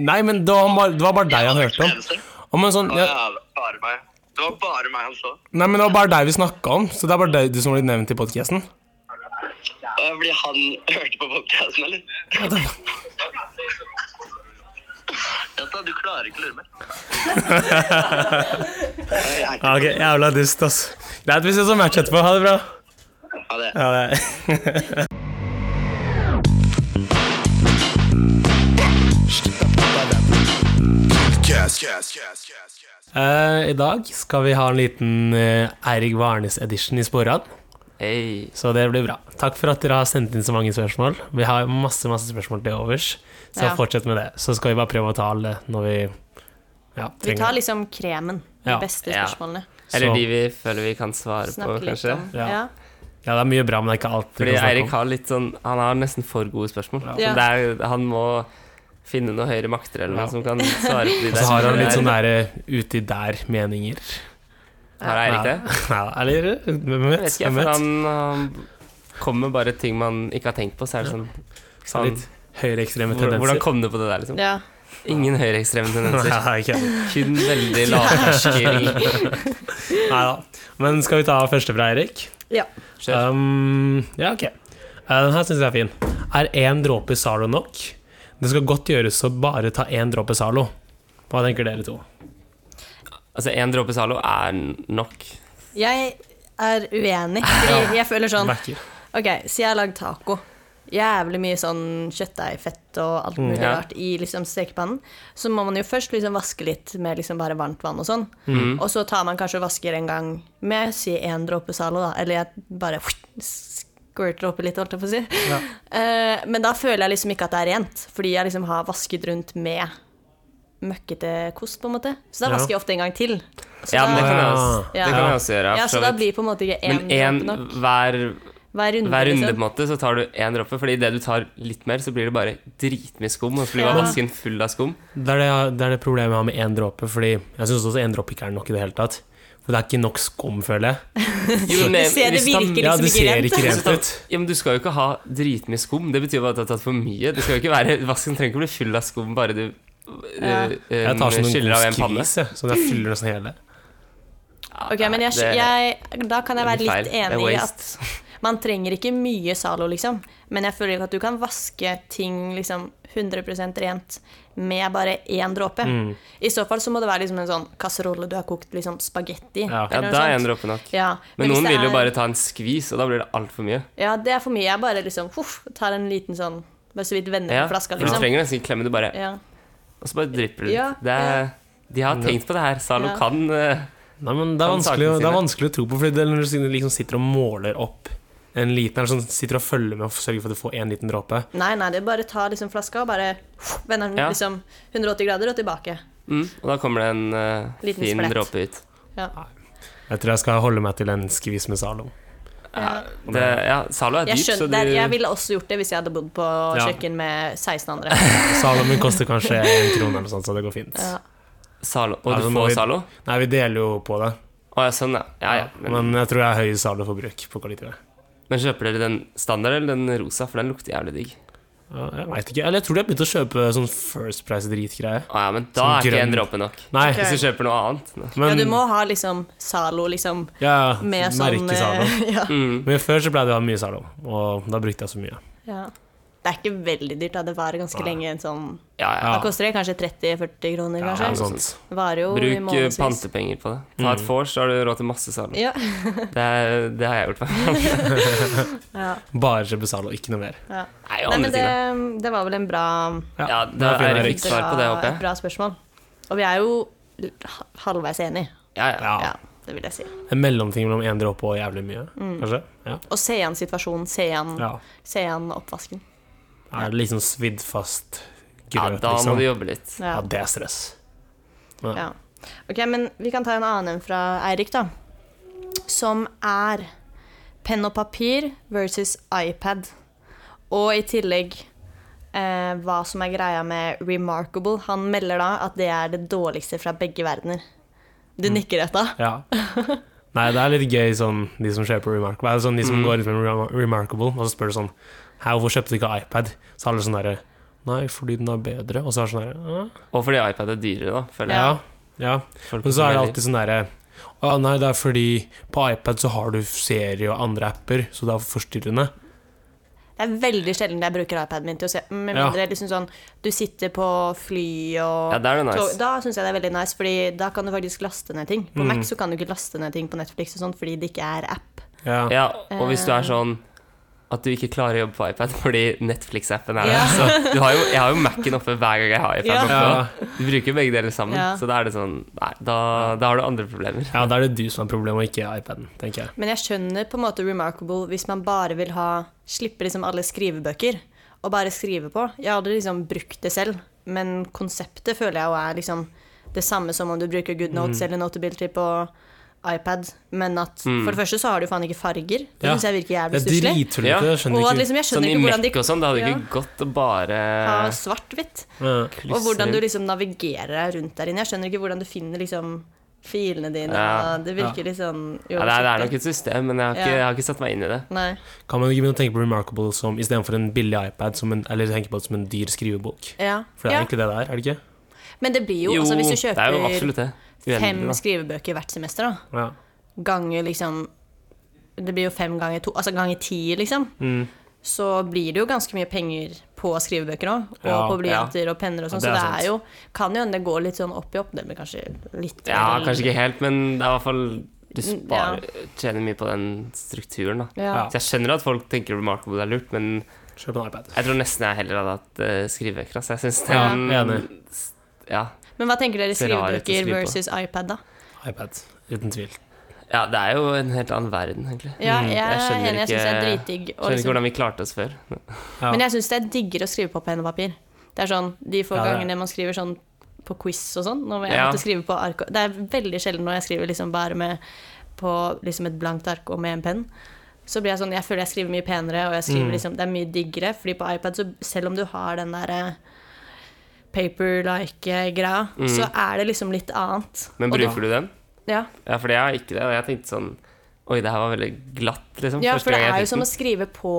Speaker 3: Nei, men det var, bare- det var bare deg han hørte om.
Speaker 5: Eneste.
Speaker 3: Om en sånn,
Speaker 5: Å,
Speaker 3: ja,
Speaker 5: Ja, bare meg. Det var bare meg han så.
Speaker 3: nei, men Det var bare deg vi snakka om, så det er bare deg du som har blitt nevnt i podkasten.
Speaker 5: Ja, Fordi han hørte på podcasten, eller? Jenta, du klarer ikke å lure meg.
Speaker 3: Ok, jævla dust, ass. Greit, vi ses om match etterpå. Ha det bra.
Speaker 5: Ha det.
Speaker 4: Uh,
Speaker 3: Ja, det.
Speaker 4: Cast, cast, cast, cast, cast.
Speaker 3: eh, I dag skal vi ha en liten eh, Eirik Varnes-edition i sporene.
Speaker 1: Hey.
Speaker 3: Så det blir bra. Takk for at dere har sendt inn så mange spørsmål. Vi har masse masse spørsmål til overs, så
Speaker 2: Ja.
Speaker 3: fortsett med det. Så skal vi bare prøve å ta alle når vi
Speaker 2: Vi tar
Speaker 3: ja, trenger det.
Speaker 2: liksom kremen. De
Speaker 3: Ja.
Speaker 2: beste
Speaker 1: Ja.
Speaker 2: spørsmålene.
Speaker 1: Eller
Speaker 3: Så-
Speaker 1: de vi føler vi kan svare på,
Speaker 2: Snakke litt
Speaker 1: kanskje.
Speaker 2: om.
Speaker 3: Ja.
Speaker 2: Ja.
Speaker 3: Ja, det er mye bra, men det er ikke alt vi
Speaker 1: Fordi
Speaker 3: kan snakke
Speaker 1: Eirik
Speaker 3: om.
Speaker 1: har litt sånn Han har nesten for gode spørsmål.
Speaker 2: Ja.
Speaker 1: Så det er, han må finne noen høyere makter eller noe
Speaker 3: Ja.
Speaker 1: som kan svare på de
Speaker 3: Og
Speaker 1: der.
Speaker 3: så har han litt sånn
Speaker 1: der
Speaker 3: nære uti der-meninger.
Speaker 1: Har Eirik det?
Speaker 3: eller hvem
Speaker 1: Jeg
Speaker 3: vet?
Speaker 1: vet ikke, for
Speaker 3: Hvem vet?
Speaker 1: han, han kommer med bare ting man ikke har tenkt på. Så er det sånn
Speaker 3: Så litt høyreekstreme
Speaker 1: hvor,
Speaker 3: tendenser.
Speaker 1: Hvordan kom du på det der, liksom?
Speaker 2: Ja.
Speaker 1: Ingen høyreekstreme tendenser.
Speaker 3: Nei, ikke heller.
Speaker 1: Kun veldig lavterskel.
Speaker 3: Neida. Men skal vi ta første fra Eirik?
Speaker 2: Ja.
Speaker 1: Kjør.
Speaker 3: Um, ja, ok. Eh, Den her syns jeg er fin. Er én dråpe Zalo nok? Det skal godt gjøres å bare ta én dråpe Zalo. Hva tenker dere to?
Speaker 1: Altså, én dråpe Zalo er nok.
Speaker 2: Jeg er uenig, fordi jeg føler sånn
Speaker 3: Merker.
Speaker 2: Ok, så jeg har lagd taco. Jævlig mye sånn kjøttdeigfett og alt mulig
Speaker 1: Mm. ja.
Speaker 2: rart i liksom stekepannen. Så må man jo først liksom vaske litt med liksom bare varmt vann og sånn.
Speaker 1: Mm.
Speaker 2: Og så tar man kanskje og vasker en gang med si en dråpe Zalo, da. Eller jeg bare squirter oppi litt, holdt jeg på å si. Eh, men da føler jeg liksom ikke at det er rent, fordi jeg liksom har vasket rundt med møkkete kost, på en måte. Så da
Speaker 3: Ja.
Speaker 2: vasker jeg ofte en gang til. Så
Speaker 1: Ja, men det
Speaker 2: da,
Speaker 1: kan jeg også,
Speaker 3: Ah.
Speaker 2: Ja.
Speaker 1: det kan jeg også gjøre.
Speaker 2: ja,
Speaker 1: for
Speaker 2: så
Speaker 1: så
Speaker 2: da
Speaker 1: vidt.
Speaker 2: blir på en måte ikke én
Speaker 1: Men én
Speaker 2: dråpe nok.
Speaker 1: hver
Speaker 2: Hver runde,
Speaker 1: Hver runde på en
Speaker 2: liksom.
Speaker 1: måte så tar du én dråpe, Fordi idet du tar litt mer, så blir det bare dritmye skum. Og så blir
Speaker 2: Ja.
Speaker 1: vasken full av skum.
Speaker 3: Det er det, det er det problemet jeg har med én dråpe. Fordi jeg syns også én dråpe ikke er nok i det hele tatt. For det er ikke nok skum, føler jeg.
Speaker 1: Jo, men,
Speaker 2: ser det
Speaker 1: hvis han-
Speaker 2: virker
Speaker 3: Ja,
Speaker 2: liksom
Speaker 3: det
Speaker 2: ikke
Speaker 3: ser
Speaker 2: rent.
Speaker 3: ikke
Speaker 1: hvis
Speaker 3: rent
Speaker 1: han-
Speaker 3: ut.
Speaker 1: Ja, men Du skal jo ikke ha dritmye skum. Det betyr jo bare at du har tatt for mye. Det skal jo ikke være, Vasken trenger ikke bli full av skum bare du
Speaker 2: Ja.
Speaker 1: øh,
Speaker 3: Jeg tar
Speaker 1: øh,
Speaker 3: sånn en
Speaker 1: skyller av
Speaker 3: god
Speaker 1: en panne.
Speaker 3: skvis, jeg. Sånn jeg fyller nesten hele.
Speaker 2: Ok, men jeg,
Speaker 1: Det-
Speaker 2: jeg, da kan jeg
Speaker 1: det
Speaker 2: være
Speaker 1: blir
Speaker 2: litt
Speaker 1: feil. Det er
Speaker 2: enig i at
Speaker 1: waste.
Speaker 2: man trenger ikke mye Zalo, liksom. Men jeg føler ikke at du kan vaske ting liksom 100 rent med bare én dråpe.
Speaker 1: Mm.
Speaker 2: I så fall så må det være liksom en sånn kasserolle du har kokt liksom spagetti i.
Speaker 3: Ja.
Speaker 1: Ja,
Speaker 2: eller noe
Speaker 1: da er
Speaker 2: sånt.
Speaker 1: én dråpe nok.
Speaker 2: Ja,
Speaker 1: Men
Speaker 2: hvis
Speaker 1: noen
Speaker 2: det
Speaker 1: vil jo
Speaker 2: er-
Speaker 1: bare ta en skvis, og da blir det altfor mye.
Speaker 2: Ja, det er for mye. Jeg bare liksom huff, tar en liten sånn Bare så vidt vender
Speaker 1: Ja,
Speaker 2: på
Speaker 1: for
Speaker 2: flaska,
Speaker 1: Du
Speaker 2: liksom.
Speaker 1: trenger nesten ikke klemme, du bare
Speaker 2: Ja.
Speaker 1: Og så bare dripper det
Speaker 2: Ja,
Speaker 1: litt. Det er, de har tenkt på det her. Zalo
Speaker 2: Ja.
Speaker 1: kan øh,
Speaker 3: Nei, men det er,
Speaker 1: Kan
Speaker 3: vanskelig,
Speaker 1: sakene
Speaker 3: det er
Speaker 1: sine.
Speaker 3: vanskelig å tro på, fordi det er når du liksom sitter og måler opp en liten Eller sånn sitter og følger med og sørger for at du får én liten dråpe.
Speaker 2: Nei, nei, det er bare å ta liksom flaska og bare huff, vender den
Speaker 1: Ja.
Speaker 2: liksom 180 grader og tilbake.
Speaker 1: mm, Og da kommer det en øh,
Speaker 2: Liten
Speaker 1: fin
Speaker 2: splett.
Speaker 1: dråpe ut.
Speaker 2: Ja.
Speaker 3: Jeg tror jeg skal holde meg til en skvis med Zalo.
Speaker 2: Ja.
Speaker 1: Det, ja, Zalo er
Speaker 2: Jeg,
Speaker 1: dyp, så
Speaker 2: skjønte,
Speaker 1: du
Speaker 2: det. jeg ville også gjort det hvis jeg hadde bodd på kjøkken med 16 andre.
Speaker 3: Zalo min koster kanskje en krone eller noe sånt, så det går fint.
Speaker 2: Ja.
Speaker 1: Zalo. Og
Speaker 3: Ja, så
Speaker 1: du
Speaker 3: må
Speaker 1: får
Speaker 3: vi-
Speaker 1: Zalo?
Speaker 3: Nei, vi deler jo på det,
Speaker 1: Å ja, sånn, ja. ja, ja. Men,
Speaker 3: men jeg tror jeg har høy Zalo-forbruk på kollektivet.
Speaker 1: men kjøper dere den standard eller den rosa? For den lukter jævlig digg.
Speaker 3: Ja, Jeg vet ikke, eller jeg tror de har begynt å kjøpe sånn First Price-dritgreie.
Speaker 1: Å ja, men da
Speaker 3: Sånn
Speaker 1: er ikke
Speaker 3: grønn.
Speaker 1: en dråpe nok.
Speaker 3: Nei,
Speaker 1: Hvis du kjøper noe annet. da.
Speaker 2: Ja,
Speaker 3: men
Speaker 2: du må ha liksom Zalo, liksom,
Speaker 3: ja,
Speaker 2: med sånn
Speaker 3: merke Zalo.
Speaker 2: eh, ja,
Speaker 1: Mm.
Speaker 3: Men før så pleide jeg å ha mye Zalo, og da brukte jeg så mye.
Speaker 2: ja. Det er ikke veldig dyrt, da. Det varer ganske lenge. En sånn,
Speaker 1: Ja, ja.
Speaker 2: da
Speaker 3: Ja.
Speaker 2: koster det kanskje 30-40 kroner,
Speaker 3: Ja,
Speaker 2: kanskje.
Speaker 3: noe sånt.
Speaker 2: Varer jo i
Speaker 1: Bruk eh,
Speaker 2: månedsvis.
Speaker 1: pantepenger på det. Ta
Speaker 3: Mm.
Speaker 1: et vors, så har du råd til masse Zalo.
Speaker 2: Ja.
Speaker 1: Det, er- det har jeg gjort.
Speaker 2: ja,
Speaker 3: Bare kjøpe Zalo, ikke noe mer.
Speaker 1: Nei,
Speaker 2: ja. Nei,
Speaker 1: andre
Speaker 2: men det,
Speaker 1: ting, da.
Speaker 2: det var vel en bra
Speaker 1: Ja, da
Speaker 3: det er fin,
Speaker 1: er det
Speaker 3: Erik.
Speaker 1: fikk svar på det, håper
Speaker 2: et
Speaker 1: jeg.
Speaker 2: bra spørsmål. Og vi er jo l- halvveis enige.
Speaker 1: Ja, ja.
Speaker 3: Ja.
Speaker 2: Ja, det vil jeg si.
Speaker 3: En mellomting mellom én dråpe og jævlig mye, kanskje? Ja.
Speaker 2: Og se an situasjonen, se an,
Speaker 3: ja.
Speaker 2: se an oppvasken.
Speaker 3: Er det liksom svidd fast
Speaker 1: ja,
Speaker 3: grøt,
Speaker 1: da må
Speaker 3: liksom?
Speaker 1: du jobbe litt.
Speaker 3: Ja, det er stress.
Speaker 2: Ja. Ok, men vi kan ta en annen en fra Eirik, da. Som er penn og papir versus iPad. Og i tillegg eh, hva som er greia med Remarkable. Han melder da at det er det dårligste fra begge verdener. Du
Speaker 1: Mm.
Speaker 2: nikker rett da?
Speaker 3: Ja. Nei, det er litt gøy sånn de som kjøper Remarkable. Det er sånn de som går rundt med Remar- Remarkable, og så spør du sånn Hæ, hvorfor kjøpte du ikke iPad? Så er alle sånn derre Nei, fordi den er bedre. Og så er det sånn derre «Hæ?»
Speaker 1: Og fordi iPad er dyrere, da, føler jeg.
Speaker 3: Ja. ja.
Speaker 1: Folk
Speaker 3: Men så er det
Speaker 1: veldig-
Speaker 3: alltid sånn derre Å nei, det er fordi på iPad så har du serie og andre apper, så det er forstyrrende.
Speaker 2: Det er veldig sjelden jeg bruker iPaden min til å se. Med
Speaker 3: Ja.
Speaker 2: mindre liksom sånn, du sitter på fly og
Speaker 1: Ja, da er det nice. Mm.
Speaker 2: Da syns jeg det er veldig nice, Fordi da kan du faktisk laste ned ting. På Mac så kan du ikke laste ned ting på Netflix og sånn fordi det ikke er app.
Speaker 3: Ja.
Speaker 1: Ja, og hvis du er sånn at du ikke klarer å jobbe på iPad fordi Netflix-appen er der.
Speaker 2: Ja.
Speaker 1: Så du har jo, jeg har jo Mac-en oppe hver gang jeg har iPad
Speaker 2: Ja.
Speaker 1: oppe. Du bruker begge deler sammen,
Speaker 2: Ja.
Speaker 1: så da er det sånn Nei, da, da har du andre problemer.
Speaker 3: Ja, da er det du som har problemet, og ikke iPaden, tenker jeg.
Speaker 2: Men jeg skjønner på en måte Remarkable hvis man bare vil ha Slippe liksom alle skrivebøker og bare skrive på. Jeg hadde liksom brukt det selv, men konseptet føler jeg jo er liksom det samme som om du bruker
Speaker 1: Mm.
Speaker 2: GoodNotes eller Notability på iPad, men at for det første så har du faen ikke farger. Det
Speaker 3: Ja.
Speaker 2: syns jeg virker
Speaker 3: Det
Speaker 2: jævlig
Speaker 3: er
Speaker 2: stusslig.
Speaker 3: drittullete, jeg skjønner
Speaker 2: Og at
Speaker 3: ikke
Speaker 2: liksom, jeg
Speaker 1: Sånn
Speaker 2: skjønner
Speaker 1: i
Speaker 2: ikke
Speaker 1: Mac
Speaker 2: hvordan de
Speaker 1: og sånn, det hadde
Speaker 2: Ja.
Speaker 1: ikke gått å bare
Speaker 2: har svart-hvitt.
Speaker 3: Ja.
Speaker 2: Og hvordan du
Speaker 1: Lyser.
Speaker 2: liksom navigerer deg rundt der inne. Jeg skjønner ikke hvordan du finner liksom filene dine.
Speaker 1: Ja.
Speaker 2: og Det virker litt sånn
Speaker 1: ja, det, er, det er nok et system, men jeg har ikke,
Speaker 2: Ja.
Speaker 1: jeg har ikke satt meg inn i det.
Speaker 2: Nei.
Speaker 3: Kan man ikke begynne å tenke på Remarkable som istedenfor en billig iPad, som en, eller tenke på det som en dyr skrivebok?
Speaker 2: Ja.
Speaker 3: For det er
Speaker 2: ja.
Speaker 3: egentlig det det er, er det ikke?
Speaker 2: Men det blir jo, altså hvis du
Speaker 1: det er jo
Speaker 2: kjøper
Speaker 1: absolutt det.
Speaker 2: fem
Speaker 1: Uendelig, da.
Speaker 2: skrivebøker hvert semester, da,
Speaker 3: Ja.
Speaker 2: ganger liksom Det blir jo fem ganger to, altså ganger ti, liksom.
Speaker 1: Mm.
Speaker 2: Så blir det jo ganske mye penger på skrivebøker òg, og
Speaker 3: Ja,
Speaker 2: på blyanter og penner og sånn, så
Speaker 3: Ja, det er
Speaker 2: det
Speaker 3: sant.
Speaker 2: er jo Kan jo hende det går litt sånn opp i opp, det blir kanskje litt
Speaker 1: Ja, kanskje ikke helt, men det er i hvert fall du sparer, tjener mye på den strukturen. da
Speaker 2: Mm, Ja.
Speaker 1: Så jeg skjønner at folk tenker Remarkable er lurt, men
Speaker 3: Kjøp en iPad.
Speaker 1: jeg tror nesten jeg heller hadde hatt uh, skrivebøker. Altså. Jeg synes det
Speaker 3: Ja,
Speaker 1: er en-
Speaker 3: enig.
Speaker 1: Ja.
Speaker 2: Men hva tenker dere
Speaker 1: Ser rar ut å
Speaker 2: skrivebøker
Speaker 1: skrive på.
Speaker 2: versus iPad, da?
Speaker 3: iPad, uten tvil.
Speaker 1: ja, det er jo en helt annen verden, egentlig. Mm,
Speaker 2: Ja, jeg,
Speaker 1: jeg
Speaker 2: er
Speaker 1: skjønner
Speaker 2: enig, jeg syns det er
Speaker 1: ikke-
Speaker 2: dritdigg. å
Speaker 1: Skjønner ikke
Speaker 2: liksom-
Speaker 1: hvordan vi klarte oss før.
Speaker 3: Ja.
Speaker 2: Men jeg syns det er diggere å skrive på penn og papir. Det er sånn, De få
Speaker 3: Ja, det er-
Speaker 2: gangene man skriver sånn på quiz og sånn når jeg
Speaker 1: Ja.
Speaker 2: måtte skrive på ark Det er veldig sjelden når jeg skriver liksom bare med på liksom et blankt ark og med en penn. Så blir jeg sånn, jeg føler jeg skriver mye penere, og jeg
Speaker 1: Mm.
Speaker 2: skriver liksom, det er mye diggere. fordi på iPad, så selv om du har den derre paper-like-greia, så er det liksom litt annet.
Speaker 1: Mm. Men
Speaker 2: Og da-
Speaker 1: bruker du den?
Speaker 2: Ja.
Speaker 1: Ja, fordi jeg har ikke det, og jeg tenkte sånn Oi, det her var veldig glatt, liksom.
Speaker 2: ja,
Speaker 1: første
Speaker 2: for det
Speaker 1: gang jeg
Speaker 2: er jo
Speaker 1: fikk
Speaker 2: som
Speaker 1: den.
Speaker 2: å skrive på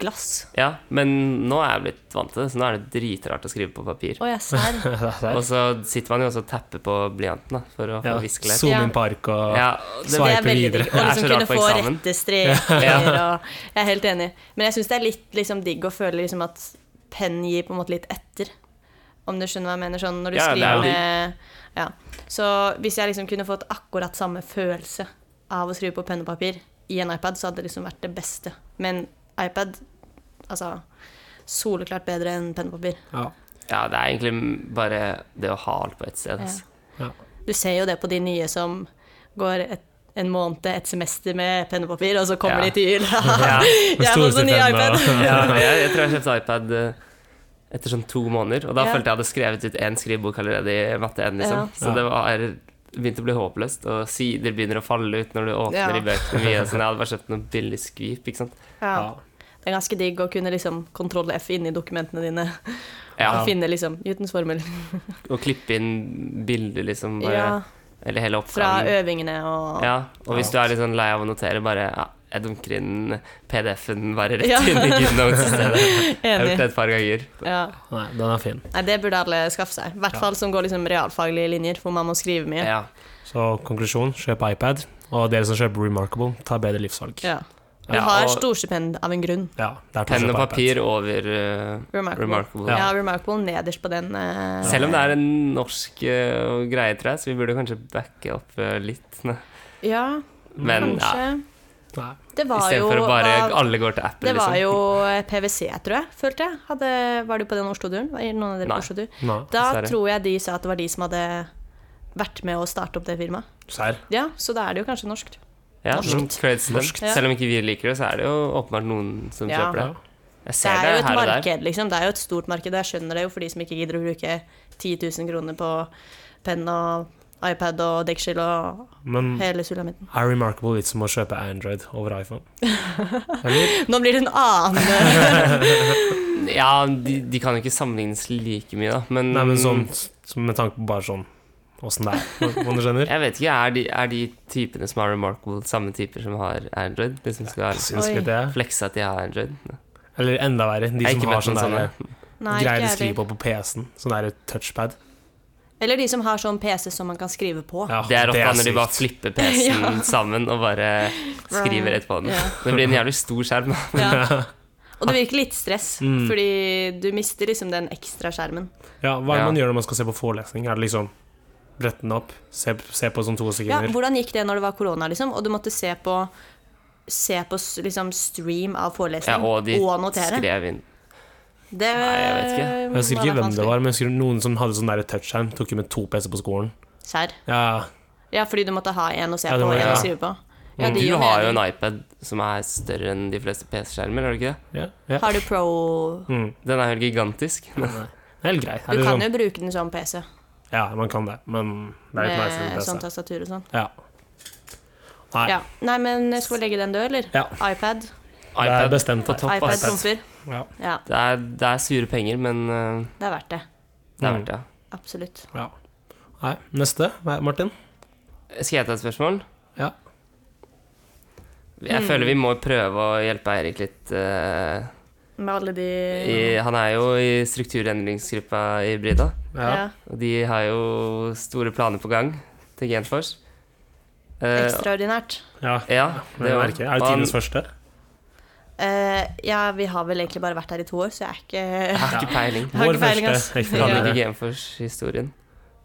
Speaker 2: glass.
Speaker 1: Ja, men nå er jeg blitt vant til det, så nå er det dritrart å skrive på papir.
Speaker 2: Å, jeg serr.
Speaker 1: Og så sitter man jo også og tapper på blyanten da, for å få
Speaker 3: Ja.
Speaker 1: viskelett.
Speaker 3: Zoom
Speaker 2: Ja.
Speaker 3: inn på ark og
Speaker 1: Ja, det,
Speaker 2: Det
Speaker 3: Swipe.
Speaker 2: er
Speaker 3: Swipe
Speaker 2: veldig
Speaker 3: videre.
Speaker 2: digg. Og
Speaker 1: Det er så
Speaker 2: liksom kunne
Speaker 1: rart på
Speaker 2: få
Speaker 1: eksamen.
Speaker 2: rette streker. og Jeg er helt enig. Men jeg syns det er litt liksom, digg å føle liksom, at penn gir på en måte litt etter. Om du skjønner hva jeg mener? Sånn når du
Speaker 1: Ja, det er jo
Speaker 2: skriver med ja. Så hvis jeg liksom kunne fått akkurat samme følelse av å skrive på penn og papir i en iPad, så hadde det liksom vært det beste. Men iPad Altså soleklart bedre enn penn og papir.
Speaker 3: Ja.
Speaker 1: ja, det er egentlig bare det å ha alt på ett sted. Altså.
Speaker 2: Du ser jo det på de nye som går et, en måned, et semester med penn og papir, og så
Speaker 1: Ja.
Speaker 2: kommer de til jul.
Speaker 1: Ja.
Speaker 2: Jeg har fått en ny
Speaker 3: Storstipend
Speaker 2: sånn iPad.
Speaker 3: og-
Speaker 1: Ja, jeg, jeg tror jeg kjøpte iPad eh, etter sånn to måneder, og da
Speaker 2: Ja.
Speaker 1: følte jeg hadde skrevet ut én skrivebok allerede i matte 1, liksom.
Speaker 2: Ja.
Speaker 1: Så det var begynte å bli håpløst, og sider begynner å falle ut når du åpner
Speaker 2: Ja.
Speaker 1: i bøkene mye. og Sånn, jeg hadde bare kjøpt noen billig skvip, ikke sant.
Speaker 2: Ja. Det er ganske digg å kunne liksom kontroll F inni dokumentene dine.
Speaker 1: Ja,
Speaker 2: Og finne liksom Newtons formel.
Speaker 1: Og klippe inn bilder, liksom. Bare,
Speaker 2: Ja,
Speaker 1: Eller hele
Speaker 2: fra
Speaker 1: oppgaven.
Speaker 2: øvingene og
Speaker 1: Ja, og hvis du er litt sånn lei av å notere, bare ja, jeg dunker inn PDF-en bare rett
Speaker 2: Ja.
Speaker 1: inn i GoodNotes i stedet. Jeg har gjort
Speaker 2: Enig.
Speaker 1: det et par ganger.
Speaker 2: Ja.
Speaker 3: Nei, den er fin.
Speaker 2: Nei, det burde alle skaffe seg. I hvert fall som går liksom realfaglige linjer, hvor man må skrive mye.
Speaker 1: Ja.
Speaker 3: Så konklusjon, kjøp iPad. Og dere som kjøper Remarkable, ta bedre livsvalg.
Speaker 2: Ja. Du
Speaker 1: Ja,
Speaker 2: har
Speaker 1: og-
Speaker 2: storstipend av en grunn.
Speaker 3: Ja, det er til å
Speaker 1: Penn og
Speaker 3: kjøpe iPad.
Speaker 1: papir over eh,
Speaker 2: Remarkable.
Speaker 1: Remarkable.
Speaker 2: Ja, Remarkable nederst på den. eh,
Speaker 1: Selv om det er en norsk eh, greie, tror jeg, så vi burde kanskje backe opp eh, litt. Ne.
Speaker 2: Ja,
Speaker 1: Men ja,
Speaker 2: kanskje.
Speaker 3: Nei.
Speaker 2: Det var jo
Speaker 1: istedenfor å bare
Speaker 2: hva-
Speaker 1: alle går til Apple,
Speaker 2: Det var
Speaker 1: liksom.
Speaker 2: jo PwC, tror jeg, følte jeg. Hadde, var du på den Oslo-turen? Var noen av dere
Speaker 1: Nei.
Speaker 2: på Oslo-tur?
Speaker 3: Nei.
Speaker 2: Da
Speaker 1: Dessverre.
Speaker 2: tror jeg de sa at det var de som hadde vært med å starte opp det firmaet.
Speaker 3: Serr.
Speaker 2: Ja, så da er det jo kanskje norsk.
Speaker 1: Ja,
Speaker 2: norskt.
Speaker 1: noen creds til dem.
Speaker 3: Norskt.
Speaker 1: Selv om ikke vi liker det, så er det jo åpenbart noen som
Speaker 2: Ja.
Speaker 1: kjøper det. Jeg
Speaker 2: Det
Speaker 1: ser
Speaker 2: er
Speaker 1: det,
Speaker 2: jo et
Speaker 1: her og der.
Speaker 2: marked, liksom. Det er jo et stort marked. og Jeg skjønner det jo for de som ikke gidder å bruke 10 000 kroner på penn og iPad og deksel og
Speaker 3: Men
Speaker 2: hele sulamitten.
Speaker 3: er Remarkable litt som å kjøpe Android over iPhone?
Speaker 2: Nå blir det en annen
Speaker 1: Ja, de, de kan jo ikke sammenlignes like mye, da. Men,
Speaker 3: Nei, men sånn så med tanke på bare sånn åssen det er, om du skjønner?
Speaker 1: Jeg vet ikke, er de, er de typene som har Remarkable, samme typer som har Android? De som skal
Speaker 3: Syns litt det.
Speaker 1: flekse at de har Android?
Speaker 3: Eller enda verre,
Speaker 1: Jeg
Speaker 3: de
Speaker 1: har
Speaker 3: som
Speaker 1: ikke
Speaker 3: har
Speaker 1: møtt
Speaker 3: sånn
Speaker 1: noen
Speaker 3: der
Speaker 1: sånne.
Speaker 2: Nei, ikke
Speaker 3: greier de
Speaker 2: jeg
Speaker 3: skriver
Speaker 2: heller.
Speaker 3: på på PC-en. Sånn der touchpad.
Speaker 2: Eller de som har sånn PC som man kan skrive på.
Speaker 3: Ja,
Speaker 1: Det er rått da når de bare
Speaker 3: sykt.
Speaker 1: flipper PC-en sammen og bare skriver rett på den.
Speaker 2: Ja.
Speaker 1: Det blir en jævlig stor skjerm. da.
Speaker 2: Ja. Og det virker litt stress, fordi du mister liksom den ekstra skjermen.
Speaker 3: Ja, hva er det
Speaker 1: Ja.
Speaker 3: man gjør når man skal se på forelesning? Er det liksom brette den opp, se, se på sånn to
Speaker 2: Ja,
Speaker 3: sekunder?
Speaker 2: hvordan gikk det når det var korona, liksom? Og du måtte se på se på s- liksom, stream av
Speaker 1: Ja,
Speaker 2: forelesning
Speaker 1: og de
Speaker 2: notere.
Speaker 1: skrev inn
Speaker 2: Det
Speaker 1: jeg vet ikke.
Speaker 2: må
Speaker 3: Jeg husker
Speaker 2: være
Speaker 3: ikke hvem det
Speaker 2: vanskelig.
Speaker 3: var, men jeg husker noen som hadde sånn der touchskjerm. Tok jo med to PC på skolen.
Speaker 2: Serr.
Speaker 3: Ja,
Speaker 2: Ja, fordi du måtte ha en å se
Speaker 3: Ja, det
Speaker 2: på
Speaker 3: må
Speaker 2: og en
Speaker 3: jeg,
Speaker 2: å
Speaker 3: ja.
Speaker 2: skrive på. Ja, det
Speaker 1: Mm. Du
Speaker 2: gir jo
Speaker 1: har jo
Speaker 2: mening.
Speaker 1: en iPad som er større enn de fleste PC-skjermer, har du ikke det?
Speaker 3: ja, ja.
Speaker 2: Har du pro
Speaker 1: Den er helt gigantisk.
Speaker 3: Mm. Det er helt greit.
Speaker 2: Du
Speaker 3: Eller
Speaker 2: kan
Speaker 3: sånn-
Speaker 2: jo bruke den som PC,
Speaker 3: Ja, man kan det, men det er litt nice
Speaker 2: med
Speaker 3: med
Speaker 2: sånn
Speaker 3: PC.
Speaker 2: tastatur og sånn.
Speaker 3: Ja. Nei,
Speaker 2: Ja. Nei, men skal vi legge den død, eller?
Speaker 3: Ja.
Speaker 2: iPad.
Speaker 3: det er
Speaker 1: iPad,
Speaker 3: bestemt. altså.
Speaker 1: På topp. Opp,
Speaker 2: iPad
Speaker 1: iPad.
Speaker 2: trumfer.
Speaker 3: Ja.
Speaker 2: Ja,
Speaker 1: det er, det er sure penger, men eh,
Speaker 2: det er verdt det.
Speaker 1: det er
Speaker 3: Mm.
Speaker 1: verdt det.
Speaker 2: Absolutt.
Speaker 3: Ja. Nei, neste, Hva er- Martin.
Speaker 1: Skal jeg ta et spørsmål?
Speaker 3: Ja.
Speaker 1: Jeg føler vi må prøve å hjelpe Eirik litt. eh,
Speaker 2: Med alle de
Speaker 1: i, han er jo i strukturendringsgruppa i Brida.
Speaker 2: ja.
Speaker 1: Og de har jo store planer på gang til Genfors. Eh,
Speaker 2: Ekstraordinært.
Speaker 3: ja.
Speaker 1: ja,
Speaker 3: Det
Speaker 1: jo-
Speaker 3: er, merkelig. er det
Speaker 1: han-
Speaker 3: tidenes første?
Speaker 2: Eh, ja, vi har vel egentlig bare vært her i to år, så jeg er ikke
Speaker 1: Jeg har ikke peiling.
Speaker 2: har
Speaker 3: Vår
Speaker 2: ikke peiling, ass.
Speaker 3: første. Ikke
Speaker 1: Jeg kan
Speaker 3: andre.
Speaker 1: ikke Genfors-historien.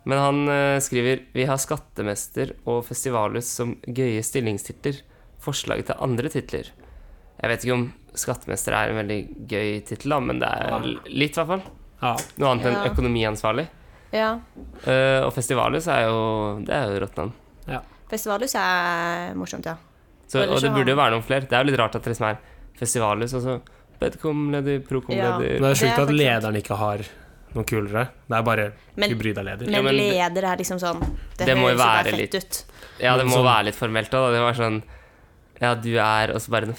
Speaker 1: Men han eh, skriver Vi har skattemester og festivalhus som gøye stillingstitler. Forslag til andre titler. Jeg vet ikke om skattemester er en veldig gøy tittel, da, men det er l- litt, i hvert fall.
Speaker 3: Ja.
Speaker 1: Noe annet enn
Speaker 2: Ja.
Speaker 1: økonomiansvarlig.
Speaker 2: Ja.
Speaker 1: Eh, og festivalhus er jo Det er jo rått navn.
Speaker 2: Festivalhus er morsomt, ja.
Speaker 1: Så-
Speaker 2: Ellers
Speaker 1: Og det
Speaker 2: så har-
Speaker 1: burde jo være noen flere. Det er jo litt rart at det liksom er festivalhus, og så Bedcom-leder,
Speaker 3: Men
Speaker 1: Procom-leder
Speaker 2: Det
Speaker 3: det er
Speaker 2: er
Speaker 3: sjukt at
Speaker 2: faktisk
Speaker 3: lederen ikke har noe kulere. Det er bare
Speaker 2: Men-
Speaker 3: hybrida-leder.
Speaker 1: Ja,
Speaker 2: Men
Speaker 1: men det-
Speaker 2: leder er liksom sånn Det,
Speaker 1: Det må jo
Speaker 2: høres jo bare
Speaker 1: være
Speaker 2: fett
Speaker 1: litt-
Speaker 2: ut.
Speaker 1: Ja, det må
Speaker 3: Sånn.
Speaker 1: være litt formelt òg, da. Det var sånn Ja, du er Og så bare noe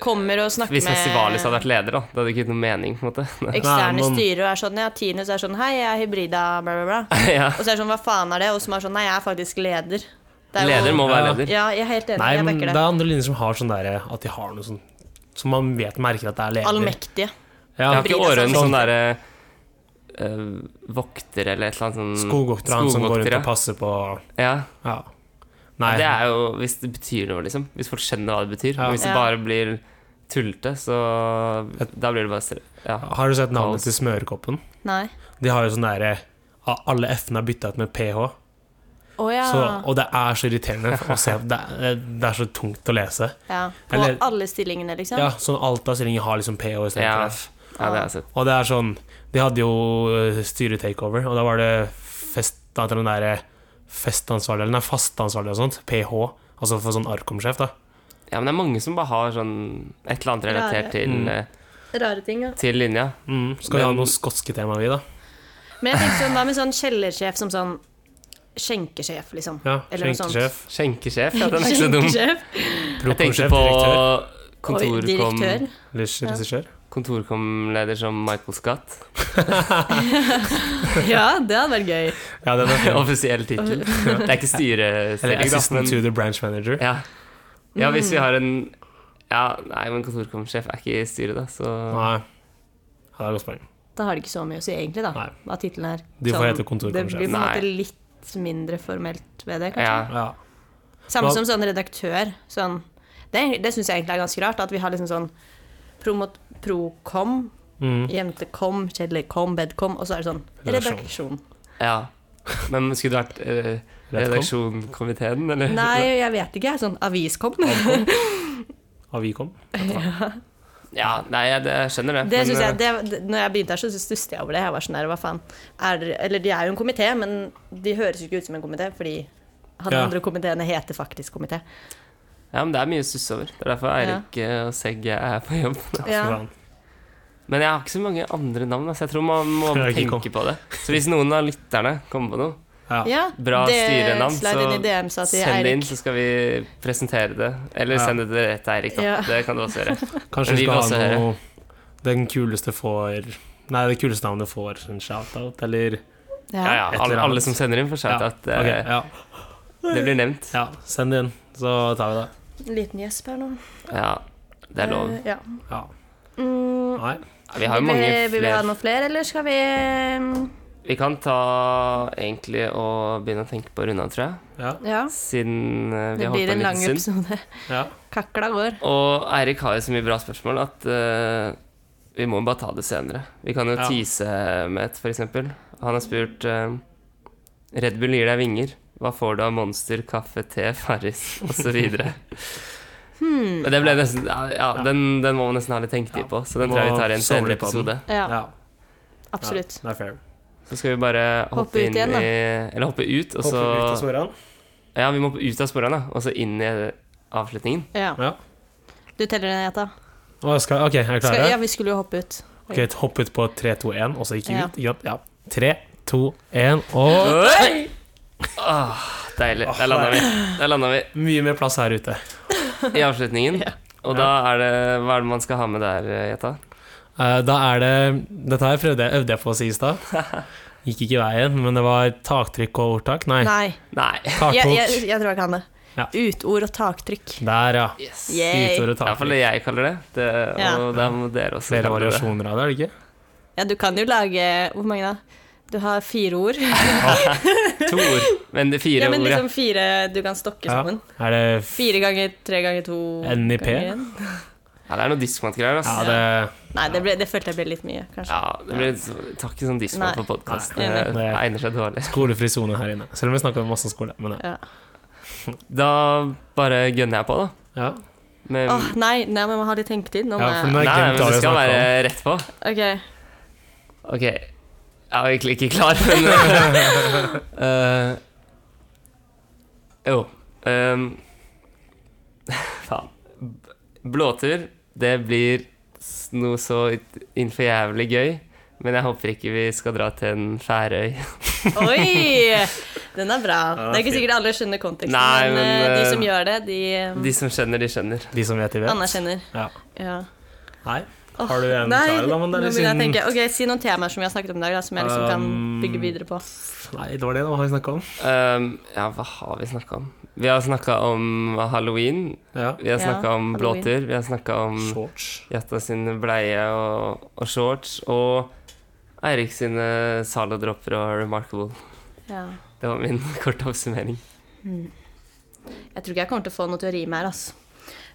Speaker 2: Kommer og snakker
Speaker 1: Hvis Festivalis hadde
Speaker 2: med
Speaker 1: vært leder, da, det hadde ikke gitt noe mening. på en måte
Speaker 2: eksterne
Speaker 3: Nei, men-
Speaker 2: styrer og er sånn Ja, Tinus er sånn Hei, jeg er hybrida, bla, bla, bla.
Speaker 1: ja.
Speaker 2: Og så er det sånn Hva faen er det? Og som er sånn Nei, jeg er faktisk leder. Det er jo-
Speaker 1: Leder må være
Speaker 3: Ja.
Speaker 1: leder.
Speaker 2: Ja, jeg er helt enig.
Speaker 3: Nei,
Speaker 2: jeg
Speaker 3: men
Speaker 2: backer
Speaker 3: det
Speaker 2: det.
Speaker 3: er andre linjer som har sånn derre at de har noe sånn som man vet merker at det er leder.
Speaker 2: Allmektige.
Speaker 1: Jeg
Speaker 3: Ja,
Speaker 1: har ikke
Speaker 2: Brita
Speaker 1: Årøen
Speaker 2: Sandberg.
Speaker 1: sånn derre eh, vokter eller et eller annet sånn
Speaker 3: Skogvokter, han som går
Speaker 1: skogvokter,
Speaker 3: rundt
Speaker 1: ja.
Speaker 3: og passer på
Speaker 1: Ja.
Speaker 3: Ja. Nei.
Speaker 1: Det er jo hvis det betyr noe, liksom. Hvis folk skjønner hva det betyr.
Speaker 3: Ja.
Speaker 1: Men hvis det
Speaker 2: Ja.
Speaker 1: bare blir tullete, så Da blir det bare stre- ja.
Speaker 3: Har du sett navnet
Speaker 1: Kaos.
Speaker 3: til smørekoppen?
Speaker 2: Nei.
Speaker 3: De har jo sånn derre a- Alle F-ene er bytta ut med PH.
Speaker 2: Å ja.
Speaker 3: Så, og det er så irriterende å se. Det er, det er så tungt å lese.
Speaker 2: ja. På
Speaker 3: Eller-
Speaker 2: alle stillingene, liksom?
Speaker 3: Ja, sånn Alt av stillinger har liksom PH
Speaker 1: Ja.
Speaker 3: istedenfor F.
Speaker 1: ja, det har jeg sett.
Speaker 3: Og det er sånn De hadde jo eh, styre-takeover, og da var det fest, da heter den derre festansvarlig, eller nei, fastansvarlig og sånt, PH, altså for sånn Arkom-sjef, da.
Speaker 1: Ja, men det er mange som bare har sånn et eller annet relatert til,
Speaker 3: Mm.
Speaker 1: eh,
Speaker 2: Rare ting, ja.
Speaker 1: til linja.
Speaker 3: Skal vi ha
Speaker 1: Men-
Speaker 3: noe skotske tema, vi, da?
Speaker 2: Men jeg tenker sånn, hva med sånn kjellersjef som sånn skjenkesjef, liksom?
Speaker 3: Ja,
Speaker 2: Eller noe sånt.
Speaker 3: Skjenkesjef,
Speaker 1: Skjenkesjef, ja, den er ikke så dum.
Speaker 2: Skjenkesjef?
Speaker 1: Jeg tenkte
Speaker 3: prokomsjef,
Speaker 1: på
Speaker 3: direktør,
Speaker 2: Oi,
Speaker 1: kontorkom...
Speaker 2: direktør?
Speaker 3: eller regissør.
Speaker 1: kontorkomleder som Michael Scott.
Speaker 2: Ja, det hadde vært gøy.
Speaker 3: Ja, den er fin.
Speaker 1: Offisiell tittel. Det er ikke
Speaker 3: Eller
Speaker 1: styrestilling, da,
Speaker 3: assistant to
Speaker 1: men
Speaker 3: the branch manager.
Speaker 1: ja. ja, hvis
Speaker 2: Mm.
Speaker 1: vi har en Ja, nei, men kontorkomsjef er ikke i styret, da, så
Speaker 3: Nei. Ja, det er et godt poeng.
Speaker 2: Da har det ikke så mye å si, egentlig, da.
Speaker 3: Nei.
Speaker 2: Hva tittelen er.
Speaker 3: De får
Speaker 2: Sånn,
Speaker 3: hete kontorkomsjef.
Speaker 2: Det blir på en måte
Speaker 1: Nei.
Speaker 2: litt mindre formelt ved det, kanskje.
Speaker 1: ja.
Speaker 3: Ja.
Speaker 2: Samme
Speaker 3: Hva-
Speaker 2: som sånn redaktør. Sånn, det det syns jeg egentlig er ganske rart, at vi har liksom sånn promot, procom, jentekom, kjedeligkom, bedkom, og så er det sånn redaksjon.
Speaker 1: ja. Men skulle det vært eh, redaksjonskomiteen, eller?
Speaker 2: Nei, jeg vet ikke. jeg. Sånn aviskom.
Speaker 3: Avicom.
Speaker 1: Ja, nei, jeg, det, jeg skjønner det.
Speaker 2: Det
Speaker 1: men,
Speaker 2: synes jeg,
Speaker 1: eh,
Speaker 2: det, det- når jeg begynte her, så stusset jeg over det. Jeg var sånn der, hva faen. Er, det- eller de er jo en komité, men de høres jo ikke ut som en komité, fordi han
Speaker 3: Ja.
Speaker 2: andre komiteen heter faktisk komité.
Speaker 1: Ja, men det er mye å susse over. Det er derfor Eirik eh, og Segge er på jobb.
Speaker 2: Ja.
Speaker 1: Men jeg har ikke så mange andre navn, da, så jeg tror man må
Speaker 3: Jeg har ikke
Speaker 1: tenke på det. Så hvis noen av lytterne kommer på noe
Speaker 3: Ja.
Speaker 2: Ja,
Speaker 1: Bra styrenavn,
Speaker 2: slide inn i DM, sa
Speaker 1: så
Speaker 2: til
Speaker 1: send det inn,
Speaker 2: Eirik.
Speaker 1: så skal vi presentere det. Eller
Speaker 3: Ja.
Speaker 1: send det direkt til Eirik, da.
Speaker 2: Ja.
Speaker 1: Det kan du også gjøre.
Speaker 3: Kanskje
Speaker 1: Vi
Speaker 3: vi
Speaker 1: vil
Speaker 3: skal
Speaker 1: også
Speaker 3: ha noe Den kuleste får Nei, det kuleste navnet får en shout-out, eller
Speaker 1: Ja, ja.
Speaker 3: Et eller
Speaker 1: Alle,
Speaker 3: annet.
Speaker 1: alle som sender inn, får sagt
Speaker 3: Ja,
Speaker 1: at eh,
Speaker 3: ok, ja.
Speaker 1: det blir nevnt.
Speaker 3: Ja, send det inn, så tar vi det.
Speaker 2: En liten gjesp her nå.
Speaker 1: Ja, det er lov.
Speaker 2: Eh, Ja.
Speaker 3: Ja.
Speaker 2: Mm.
Speaker 3: Nei.
Speaker 1: Vi har jo mange
Speaker 2: Vil vi- Vil vi ha
Speaker 1: flere.
Speaker 2: noen flere, eller skal vi mm,
Speaker 1: Vi kan ta egentlig og begynne å tenke på å runde av, tror jeg.
Speaker 3: Ja.
Speaker 2: Ja.
Speaker 1: Siden eh, vi
Speaker 2: Det
Speaker 1: har holdt
Speaker 2: blir
Speaker 1: på
Speaker 2: en
Speaker 1: en
Speaker 2: lang
Speaker 1: liten stund.
Speaker 2: episode.
Speaker 3: ja.
Speaker 2: Kakla går.
Speaker 1: Og Eirik har jo så mye bra spørsmål at eh, vi må bare ta det senere. Vi kan jo
Speaker 3: Ja.
Speaker 1: tease med et, for eksempel. Han har spurt eh, Red Bull gir deg vinger. Hva får du av Monster, kaffe, te, Farris osv.?
Speaker 2: Hmm.
Speaker 1: Men det ble nesten Ja, ja den, den må man nesten ha litt tenketid på, så den
Speaker 3: Må
Speaker 1: tror jeg vi tar i en
Speaker 3: sove
Speaker 1: senere
Speaker 3: litt på den.
Speaker 1: episode.
Speaker 2: Ja,
Speaker 3: Ja,
Speaker 2: absolutt.
Speaker 3: det er fair.
Speaker 1: Så skal vi bare hoppe,
Speaker 2: Hoppe ut
Speaker 1: inn
Speaker 2: igjen, da.
Speaker 1: i Eller hoppe ut, og så
Speaker 3: Håper vi tar svarene.
Speaker 1: Ja, vi må ut av sporene, da, og så inn i avslutningen.
Speaker 2: Ja.
Speaker 3: Ja.
Speaker 2: Du teller ned, Jetta.
Speaker 3: Å, jeg skal, ok, er dere
Speaker 2: Skal,
Speaker 3: klare?
Speaker 2: ja, vi skulle jo hoppe ut.
Speaker 3: Ok, Hopp ut på 3, 2, 1, og så gikk vi
Speaker 2: Ja.
Speaker 3: ut. ikke sant? Ja. 3, 2, 1, og
Speaker 1: Oi! Åh, Ah, deilig. Der landa vi. Der landa vi
Speaker 3: Mye mer plass her ute.
Speaker 1: i avslutningen. Og da er det Hva er det man skal ha med der, Jetta?
Speaker 3: Eh, da er det Dette her prøvde jeg, øvde jeg på å si i stad. Gikk ikke i veien, men det var taktrykk og ordtak. Nei,
Speaker 2: Nei,
Speaker 1: Nei.
Speaker 2: jeg, jeg,
Speaker 3: taktok.
Speaker 2: jeg tror jeg kan det.
Speaker 3: Ja.
Speaker 2: Utord og taktrykk.
Speaker 3: Der, ja.
Speaker 1: Yes.
Speaker 2: Yeah. Yay.
Speaker 3: Utord og
Speaker 1: Det er iallfall
Speaker 3: taktrykk.
Speaker 1: det jeg kaller det. det og
Speaker 2: Ja.
Speaker 1: da må dere også
Speaker 3: Flere
Speaker 1: kalle det det.
Speaker 3: variasjoner av det, er det ikke?
Speaker 2: Ja, du kan jo lage Hvor mange, da? Du har fire ord.
Speaker 1: To ord. Men det er fire
Speaker 2: Ja, men
Speaker 1: ord, ja.
Speaker 2: liksom fire du kan stokke
Speaker 3: Ja.
Speaker 2: sammen.
Speaker 3: Er det f-
Speaker 2: Fire ganger tre ganger to
Speaker 3: NIP?
Speaker 2: ganger en.
Speaker 1: ja. Det er noe diskmantgreier,
Speaker 3: Ja,
Speaker 1: altså.
Speaker 3: det
Speaker 2: Nei, det, ble, det følte jeg ble litt mye, kanskje.
Speaker 1: Ja, det blir så- Takk ikke sånn diskmant
Speaker 2: Nei.
Speaker 1: på podkast.
Speaker 2: Nei.
Speaker 1: Det
Speaker 2: Enig.
Speaker 1: det egner seg dårlig.
Speaker 3: skolefri sone her inne. Selv om vi snakker om masse skole. Men ja.
Speaker 2: Ja.
Speaker 1: Da bare gønner jeg på, da.
Speaker 3: ja.
Speaker 1: Men,
Speaker 2: Åh, nei, nei, men vi må ha litt tenketid. Nå må
Speaker 3: Ja, for nå-
Speaker 2: jeg
Speaker 3: har jeg
Speaker 1: nei,
Speaker 3: glemt
Speaker 1: men det
Speaker 3: hva vi
Speaker 1: skal
Speaker 3: snakket om.
Speaker 1: være rett på.
Speaker 2: Ok,
Speaker 1: Ok, jeg var egentlig ikke klar, men eh, Jo. ehm, faen. B- Blåtur, det blir s- noe så ut- innenfor jævlig gøy. Men jeg håper ikke vi skal dra til en Færøy.
Speaker 2: Oi! Den er bra.
Speaker 3: den er
Speaker 2: Det er ikke
Speaker 3: fin.
Speaker 2: sikkert alle skjønner konteksten,
Speaker 1: Nei,
Speaker 2: men,
Speaker 1: men,
Speaker 2: eh, de
Speaker 1: eh,
Speaker 2: som gjør det, de, eh,
Speaker 1: De som skjønner, de skjønner.
Speaker 3: De som vet, de vet.
Speaker 2: anerkjenner.
Speaker 3: Ja.
Speaker 2: Ja.
Speaker 3: Nei.
Speaker 2: Åh,
Speaker 3: Har du en
Speaker 2: nei,
Speaker 3: klar, da? Men det
Speaker 2: nå begynner
Speaker 3: er litt
Speaker 2: jeg å
Speaker 3: siden-
Speaker 2: tenke. Ok, Si noen temaer som vi har snakket om i dag, da, som jeg liksom kan
Speaker 3: Um,
Speaker 2: bygge videre på.
Speaker 3: Nei, det var det. da, Hva har vi snakka om?
Speaker 1: Ehm, ja, hva har vi snakka om? Vi har snakka om halloween.
Speaker 3: Ja.
Speaker 1: Vi har
Speaker 2: Ja,
Speaker 1: snakka om
Speaker 2: halloween.
Speaker 1: blåtur. Vi har snakka om
Speaker 3: Mm. Shorts.
Speaker 1: Jatta sin bleie og, og shorts, og Eirik sine saladropper og Remarkable.
Speaker 2: Ja.
Speaker 1: Det var min korte oppsummering.
Speaker 2: Jeg tror ikke jeg kommer til å få noe til å rime her, altså.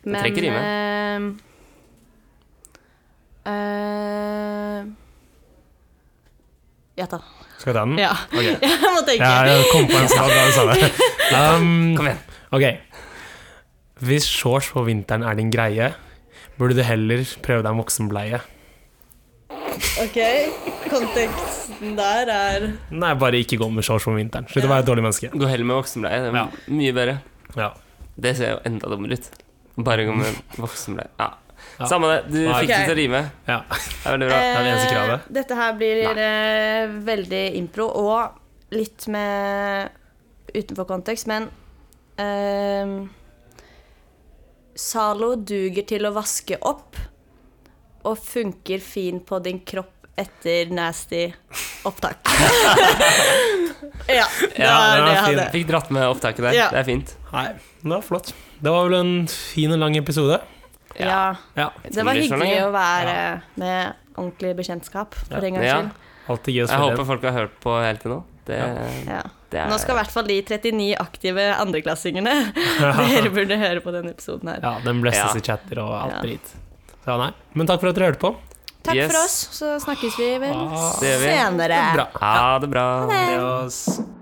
Speaker 1: Jeg trenger ikke
Speaker 2: rime. eh, ja da.
Speaker 3: Skal jeg ta den?
Speaker 2: Ja. Jeg må tenke.
Speaker 3: Ja, jeg kom på en sak da du sa det. Um,
Speaker 1: Kom igjen.
Speaker 3: ok. Hvis shorts på vinteren er din greie, burde du heller prøve deg en voksenbleie.
Speaker 2: Ok, konteksten der er
Speaker 3: Nei, bare ikke gå med shorts på vinteren. Slutt å være et dårlig menneske.
Speaker 1: Gå heller med voksenbleie. Det er
Speaker 3: Ja.
Speaker 1: mye bedre.
Speaker 3: Ja.
Speaker 1: Det ser jo enda dummere ut. Bare gå med voksenbleie. Ja.
Speaker 3: Ja.
Speaker 1: Samme det. Du
Speaker 3: Nei.
Speaker 1: fikk det
Speaker 2: Ok.
Speaker 1: til å rime.
Speaker 3: ja.
Speaker 1: Det er veldig bra.
Speaker 3: er det eneste kravet.
Speaker 2: Eh, Dette her blir eh, veldig impro og litt med utenfor kontekst, men eh, Zalo duger til å vaske opp og funker fin på din kropp etter nasty opptak. ja, det
Speaker 1: Ja,
Speaker 2: er
Speaker 3: den
Speaker 2: det
Speaker 3: er
Speaker 2: jeg
Speaker 3: fin.
Speaker 2: hadde.
Speaker 1: Fikk dratt med opptaket der.
Speaker 2: Ja.
Speaker 1: Det er fint.
Speaker 3: Nei, det var flott. Det var vel en fin og lang episode.
Speaker 1: Ja.
Speaker 2: Ja.
Speaker 3: Ja.
Speaker 2: Det var
Speaker 1: Blir sånn,
Speaker 2: hyggelig
Speaker 1: ja.
Speaker 2: å være med ordentlig bekjentskap for en gangs
Speaker 1: Ja.
Speaker 2: skyld.
Speaker 3: Alltid gøy
Speaker 1: Jeg
Speaker 3: å spille.
Speaker 1: håper folk har hørt på helt til nå. Det,
Speaker 2: Ja.
Speaker 1: det er
Speaker 2: Nå skal i hvert fall de 39 aktive andreklassingene Dere burde høre på denne episoden her.
Speaker 3: Ja, den
Speaker 1: Ja.
Speaker 3: blestes i chatter og alt
Speaker 2: Ja.
Speaker 3: drit. Så ja, nei. Men takk for at dere hørte på.
Speaker 2: Takk
Speaker 1: Yes.
Speaker 2: for oss, så snakkes vi vel
Speaker 3: Ah,
Speaker 1: det gjør vi.
Speaker 2: senere.
Speaker 3: Bra.
Speaker 1: Ha det bra.
Speaker 3: Det var s-